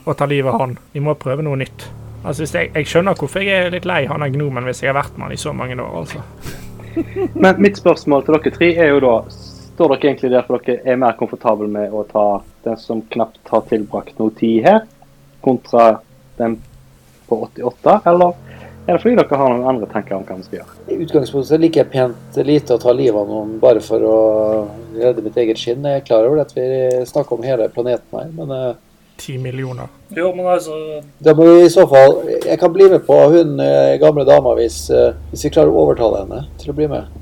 Speaker 2: å ta livet av han. Vi må prøve noe nytt. Altså, hvis jeg, jeg skjønner hvorfor jeg er litt lei han er gnomen hvis jeg har vært med han i så mange år, altså.
Speaker 4: Men mitt spørsmål til dere tre er jo da Står dere egentlig der for dere er mer komfortable med å ta den som knapt har tilbrakt noe tid her, kontra den på 88, eller er det fordi dere har noen andre tanker om hva vi skal gjøre?
Speaker 5: I utgangspunktet så liker jeg pent lite å ta livet av noen bare for å redde mitt eget skinn. Jeg er klar over at vi snakker om hele planeten her, men eh,
Speaker 2: Ti millioner.
Speaker 9: Jo, men altså
Speaker 5: da må vi i så fall Jeg kan bli med på hun eh, gamle dama hvis, eh, hvis vi klarer å overtale henne til å bli med.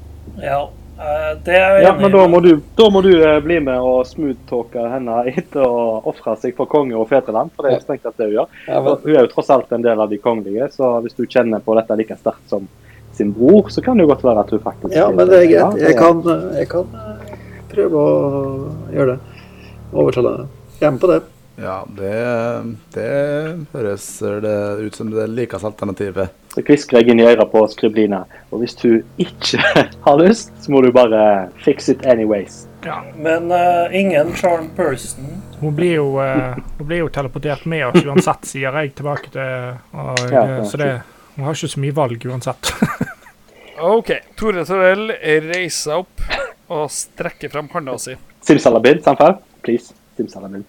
Speaker 9: Ja, eh, det er jeg
Speaker 4: Ja,
Speaker 9: enig
Speaker 4: men
Speaker 9: i,
Speaker 4: da må du, da må du eh, bli med og smooth-talke henne etter å ofre seg for konge og fedreland, for det er jo strengt at det hun gjør.
Speaker 5: Ja, men,
Speaker 4: Og Hun er jo tross alt en del av de kongelige, så hvis du kjenner på dette like sterkt som sin bror, så kan det jo godt være at hun faktisk
Speaker 5: ja, men det er greit. Jeg kan, eh, jeg kan eh, prøve å gjøre det. Overtale henne. Jeg er med på det.
Speaker 8: Ja, det, det høres eh, det ut som det likeste alternativet.
Speaker 4: Så kvisker jeg inn i øret på Skriblina. Og hvis hun ikke har lyst, så må du bare fix it anyways.
Speaker 9: men eh, ingen charm person.
Speaker 2: Hun blir jo, eh, hun blir jo teleportert med oss uansett, sier jeg tilbake til og,
Speaker 4: Ja,
Speaker 2: eh, Så det, hun har ikke så mye valg uansett.
Speaker 1: OK. Tore Torell reiser seg opp og strekker frem handa si.
Speaker 4: Simsalabim, samfer. Please. Simsalabim.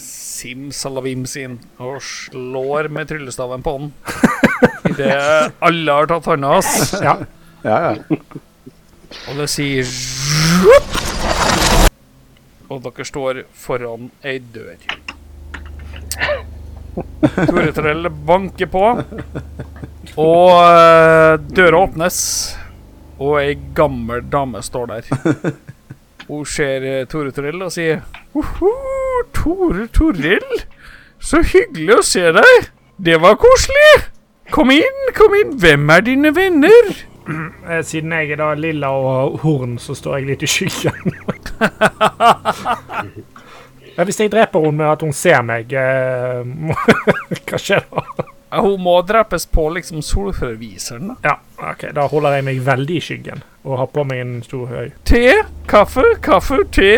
Speaker 1: Simsalabim sin og slår med tryllestaven på han. Idet alle har tatt handa hans,
Speaker 2: Ja.
Speaker 8: Ja, ja.
Speaker 1: og det sier zzup. Og dere står foran ei dør. Tore Trell banker på. Og eh, døra åpnes, og ei gammel dame står der. Hun ser eh, Tore Trell og sier Oho, Tore Torell, så hyggelig å se deg. Det var koselig. Kom inn, kom inn. Hvem er dine venner?
Speaker 2: Eh, Siden jeg er da lilla og horn, så står jeg litt i skyggen. Ja, Hvis jeg dreper henne med at hun ser meg, eh, må- hva skjer da?
Speaker 1: Ja, Hun må drepes på liksom solforviseren. da.
Speaker 2: Ja, ok, Da holder jeg meg veldig i skyggen og har på meg en stor høy.
Speaker 1: Te, kaffe, kaffe, te.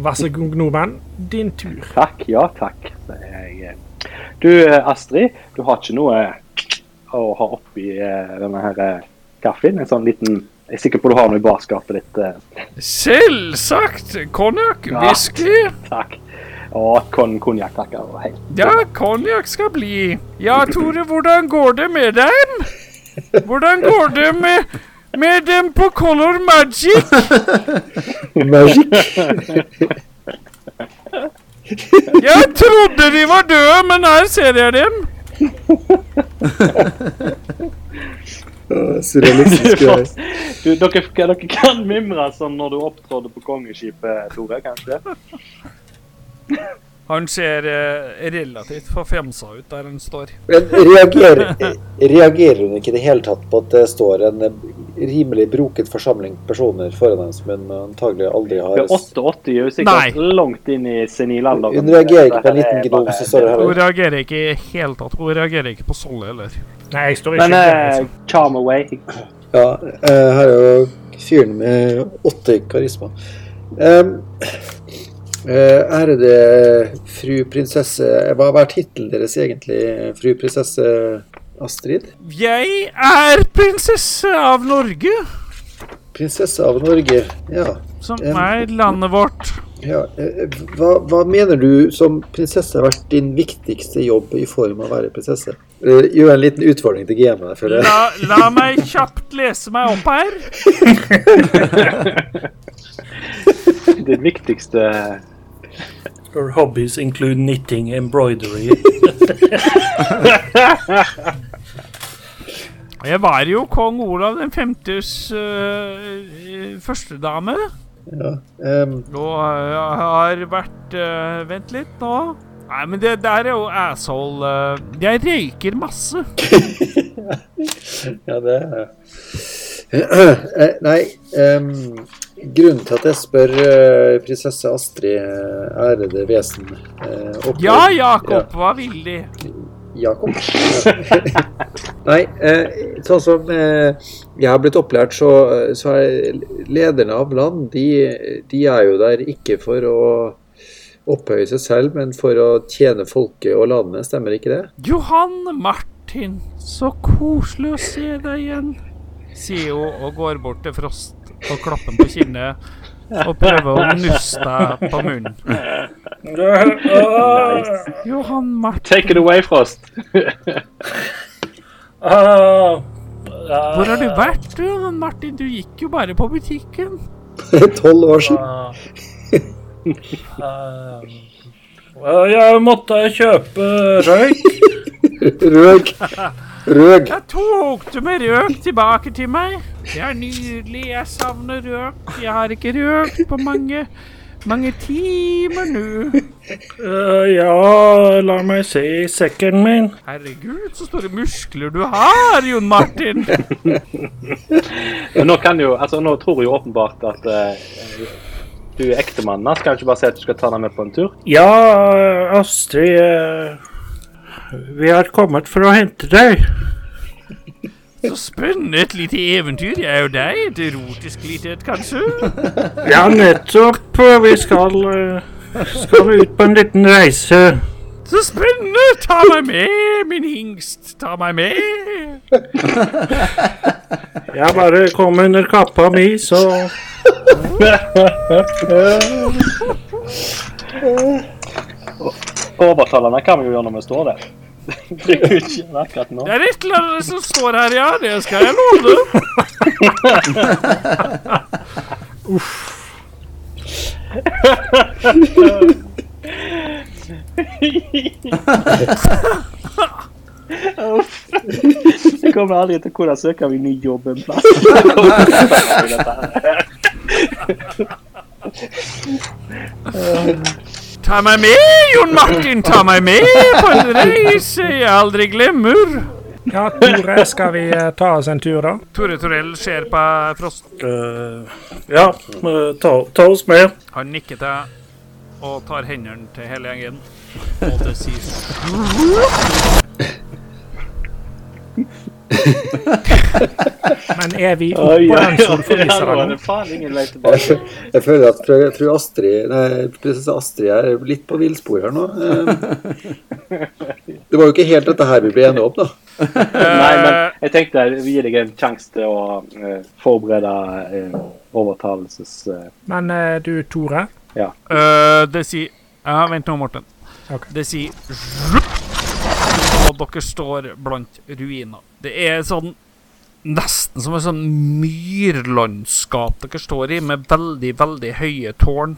Speaker 2: Vær så god, gnomen. Din tur.
Speaker 5: Takk, ja takk, sier jeg. Du eh, Astrid, du har ikke noe eh, å ha oppi eh, denne her eh, kaffen? En sånn liten Jeg er sikker på du har noe i barskapet ditt. eh.
Speaker 1: Selvsagt. Konjakk,
Speaker 5: Ja.
Speaker 1: whisky.
Speaker 5: Takk. Å, kon konjakk, takk. Og hei.
Speaker 1: Ja, konjakk skal bli. Ja, Tore, hvordan går det med dem? Hvordan går det med, med dem på Color Magic? Jeg trodde de var døde, men her ser jeg dem.
Speaker 10: Ja, Surrealistisk. ja.
Speaker 5: Du, dere, dere kan mimre som når du opptrådde på kongeskipet, Tore, kanskje?
Speaker 1: Han ser eh, relativt forfjamsa ut der han står.
Speaker 3: Men reagerer, reagerer hun ikke i det hele tatt på at det står en eh, rimelig broket forsamling personer foran henne som hun antagelig aldri
Speaker 5: Du
Speaker 3: har
Speaker 5: er 88, er jo
Speaker 1: Nei.
Speaker 5: sikkert langt inn i senilalderen.
Speaker 3: Hun reagerer ikke på en
Speaker 5: Dette her
Speaker 3: liten
Speaker 5: er
Speaker 3: gnom
Speaker 5: bare-
Speaker 3: som står her.
Speaker 1: Hun reagerer ikke i hele tatt. Hun reagerer ikke på Solle heller.
Speaker 2: Nei, jeg står i
Speaker 5: Men
Speaker 2: skyggen.
Speaker 5: eh,
Speaker 2: liksom.
Speaker 5: charm away.
Speaker 3: Ja, eh, her er jo fyren med åtte i karisma. Em, eh, ærede fru prinsesse Hva har vært tittelen deres egentlig, fru prinsesse Astrid?
Speaker 1: Jeg er prinsesse av Norge,
Speaker 3: Prinsesse av Norge, ja.
Speaker 1: som er landet vårt.
Speaker 3: ja. eh, Hva, hva mener du som prinsesse har vært din viktigste jobb i form av å være prinsesse? Eh, Gjør en liten utfordring til GM-ene, føler jeg.
Speaker 1: La, la meg kjapt lese meg opp her.
Speaker 5: Det viktigste
Speaker 6: Your hobbies include knitting, embroidery
Speaker 1: Jeg var jo kong Olav den femtes øh, øh, førstedame.
Speaker 3: Ja. em,
Speaker 1: Og øh, har vært øh, Vent litt nå. Nei, men det der er jo asshole. øh. jeg røyker masse.
Speaker 3: Ja, det er Eh, Nei, em, grunnen til at jeg spør eh, prinsesse Astrid, eh, ærede vesen eh, oppå-
Speaker 1: Ja, Jakob, hva vil de?
Speaker 3: Jakob. Ja. Nei, eh, sånn som eh, jeg har blitt opplært, så, så er lederne av land, de, de er jo der ikke for å opphøye seg selv, men for å tjene folket og landet, stemmer ikke det?
Speaker 1: Johan Martin, så koselig å se deg igjen, sier hun og går bort til Frost og klapper ham på kinnet og prøver å nusse deg på munnen. Johan Martin,
Speaker 5: Take it away, Frost.
Speaker 6: Ah,
Speaker 1: hvor har du vært, du, Johan Martin? Du gikk jo bare på butikken.
Speaker 3: Tolv år siden.
Speaker 6: Ah. Ah. Eh, Jeg måtte kjøpe røyk.
Speaker 3: Røg. Røg.
Speaker 1: Da tok du med røk tilbake til meg. Det er nydelig. Jeg savner røk. Jeg har ikke røkt på mange, mange timer nå.
Speaker 6: Eh, ja, la meg se i sekken min.
Speaker 1: Herregud, så store muskler du har, Jon Martin.
Speaker 5: Men nå kan jo, altså nå tror jeg jo åpenbart at eh, du er ektemannen hans. Kan du ikke bare si at du skal ta deg med på en tur?
Speaker 6: Ja, Astrid eh, Vi har kommet for å hente deg.
Speaker 1: Så spennende. Et lite eventyr. Jeg er jo deg. Et erotisk lite et, kanskje?
Speaker 6: Ja, nettopp. Vi skal, eh, skal ut på en liten reise.
Speaker 1: Så spennende! Ta meg med, min hingst. Ta meg med.
Speaker 6: Jeg bare kom under kappa mi, så
Speaker 5: Overtalerne kan vi jo gjøre når vi står der. Det er jo ikke akkurat nå.
Speaker 1: Det er et eller annet som står her, ja. Det skal jeg love.
Speaker 4: Uff. Jeg kommer aldri til å kunne søke meg ny jobb en plass. Jeg kommer til å stå i dette her.
Speaker 1: Ta meg med, Jon Martin! Ta meg med på en reise jeg aldri glemmer!
Speaker 2: Ja, Tore, skal vi eh, ta oss en tur, da?
Speaker 1: Tore Torell ser på Frost.
Speaker 6: Eh, ja, eh, ta, ta oss med.
Speaker 1: Han nikker til deg og tar hendene til hele gjengen. Og det sies
Speaker 2: Men er vi
Speaker 4: Oi, oi,
Speaker 2: oppå
Speaker 4: oi,
Speaker 2: den
Speaker 4: det her var
Speaker 2: solforviseren
Speaker 4: det
Speaker 2: nå?
Speaker 4: faen ingen vei
Speaker 5: Jeg,
Speaker 4: tilbake.
Speaker 5: fø- jeg føler at jeg tror Astrid Nei, prinsesse Astrid er litt på villspor her nå. Eh, Det var jo ikke helt dette her vi ble enige om, da.
Speaker 4: Nei, men jeg tenkte vi gir deg en sjanse til å eh, forberede eh, overtaleses... eh,
Speaker 2: Men eh, du, Tore.
Speaker 1: Øh, Det sier Ja, vent nå, Morten.
Speaker 2: Ok.
Speaker 1: Det sier zzup, Og dere står blant ruiner. Det er sånn Nesten som et sånn myrlandskap dere står i, med veldig, veldig høye tårn.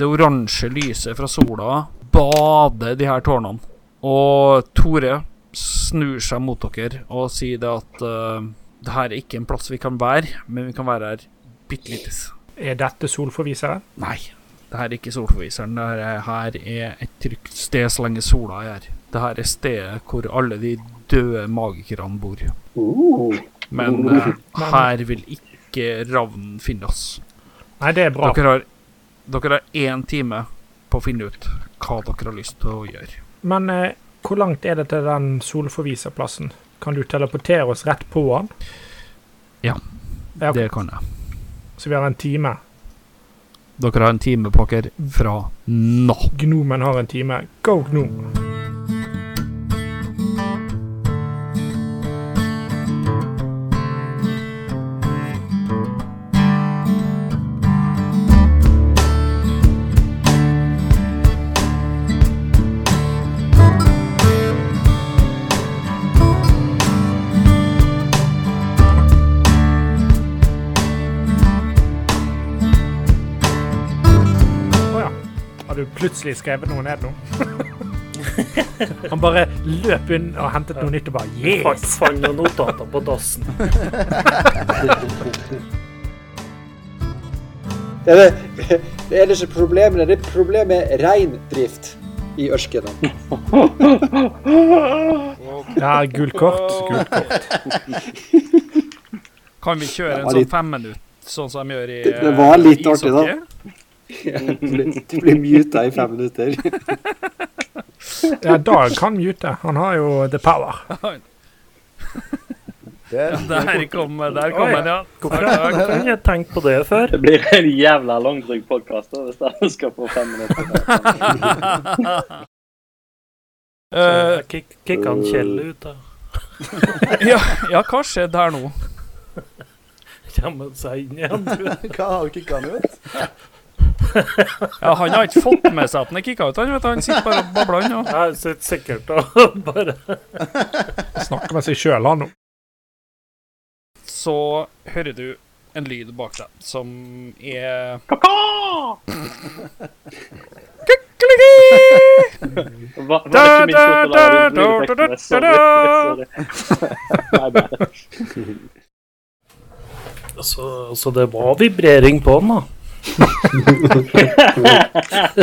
Speaker 1: Det oransje lyset fra sola bader de her tårnene. Og Tore snur seg mot dere og sier det at uh, det her er ikke en plass vi kan være, men vi kan være her bitte litt.
Speaker 2: Er dette solforviseren?
Speaker 1: Nei, det her er ikke solforviseren. Det her er- her er et trygt sted så lenge sola er her. Det her er stedet hvor alle de døde magikerne bor.
Speaker 5: Uh.
Speaker 1: Men eh, her vil ikke ravnen finne oss.
Speaker 2: Nei, det er bra.
Speaker 1: Dere har, dere har én time på å finne ut hva dere har lyst til å gjøre.
Speaker 2: Men eh, hvor langt er det til den solforviserplassen? Kan du teleportere oss rett på den?
Speaker 1: Ja,
Speaker 2: Ja,
Speaker 1: Det kan jeg.
Speaker 2: Så vi har en time.
Speaker 1: Dere har en time på dere fra nå.
Speaker 2: Gnomen har en time. Go, gnom! Å ja. Har du plutselig skrevet noe ned nå? Han bare løp inn og hentet noe nytt og bare
Speaker 6: Fant
Speaker 2: Yes!
Speaker 6: fant noen notater på dassen.
Speaker 5: Det er, det, det er ikke problemet, det er problemet med reindrift i ørkenen.
Speaker 2: Ja, gult kort. Gult kort.
Speaker 1: Kan vi kjøre en
Speaker 5: var
Speaker 1: sånn
Speaker 5: litt-
Speaker 1: fem minutter, sånn som de gjør i
Speaker 5: Det- det var litt
Speaker 1: eh,
Speaker 5: artig, da.
Speaker 1: ishockey?
Speaker 5: Du blir, du blir muta i fem minutter.
Speaker 2: Ja, Dag kan mute. Han har jo the power.
Speaker 8: Der.
Speaker 1: Der kom, der kom
Speaker 6: Oi.
Speaker 1: den, ja.
Speaker 6: Hvorfor har hvorfor har ikke jeg tenkt på det før?
Speaker 4: Det blir en jævla langdryg podkast hvis dere skal få fem minutter.
Speaker 1: Eh,
Speaker 6: Jeg kick- kicka han Kjell ut, da.
Speaker 1: ja, ja, hva skjedde her nå?
Speaker 6: Kommer han seg inn igjen? du?
Speaker 8: Hva har du kikka den ut?
Speaker 1: Ja, han har ikke fått med seg at han er kicka ut. Han, vet, du. han sitter bare og babler. han, ja.
Speaker 6: Jeg sitter sikkert og bare
Speaker 2: Snakker med seg sjøl, han nå.
Speaker 1: Så hører du en lyd bak deg som er
Speaker 4: Hva, var det ikke min tur til å lage den lydeffekten? Sorry. Sorry. Nei, nei.
Speaker 6: så, så det var vibrering på den, da.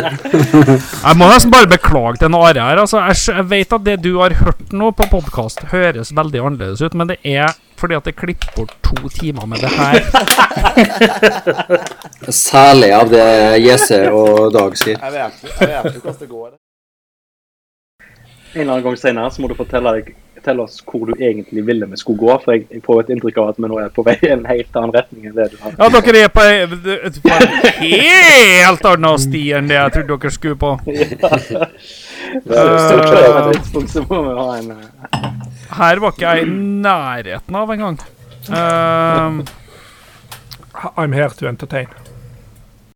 Speaker 1: Jeg må nesten bare beklage til Are her. Altså, jeg, skj- jeg vet at det du har hørt nå på podkast, høres veldig annerledes ut, men det er fordi at det klipper bort to timer med det her.
Speaker 5: Særlig av det Jesse og Dag sier.
Speaker 8: Jeg vet ikke jeg vet ikke hvordan det går.
Speaker 4: En eller annen gang senere så må du fortelle, deg, fortelle oss hvor du egentlig ville vi skulle gå. For jeg, jeg får et inntrykk av at vi nå er på vei i en helt annen retning enn det du har.
Speaker 1: Ja, dere er på ei- på en helt annen sti enn det jeg trodde dere skulle på.
Speaker 4: Så på
Speaker 1: Eh,
Speaker 4: et tidspunkt så må vi ha en eh,
Speaker 1: Her var ikke jeg i nærheten av engang. Uh,
Speaker 2: I'm here to entertain.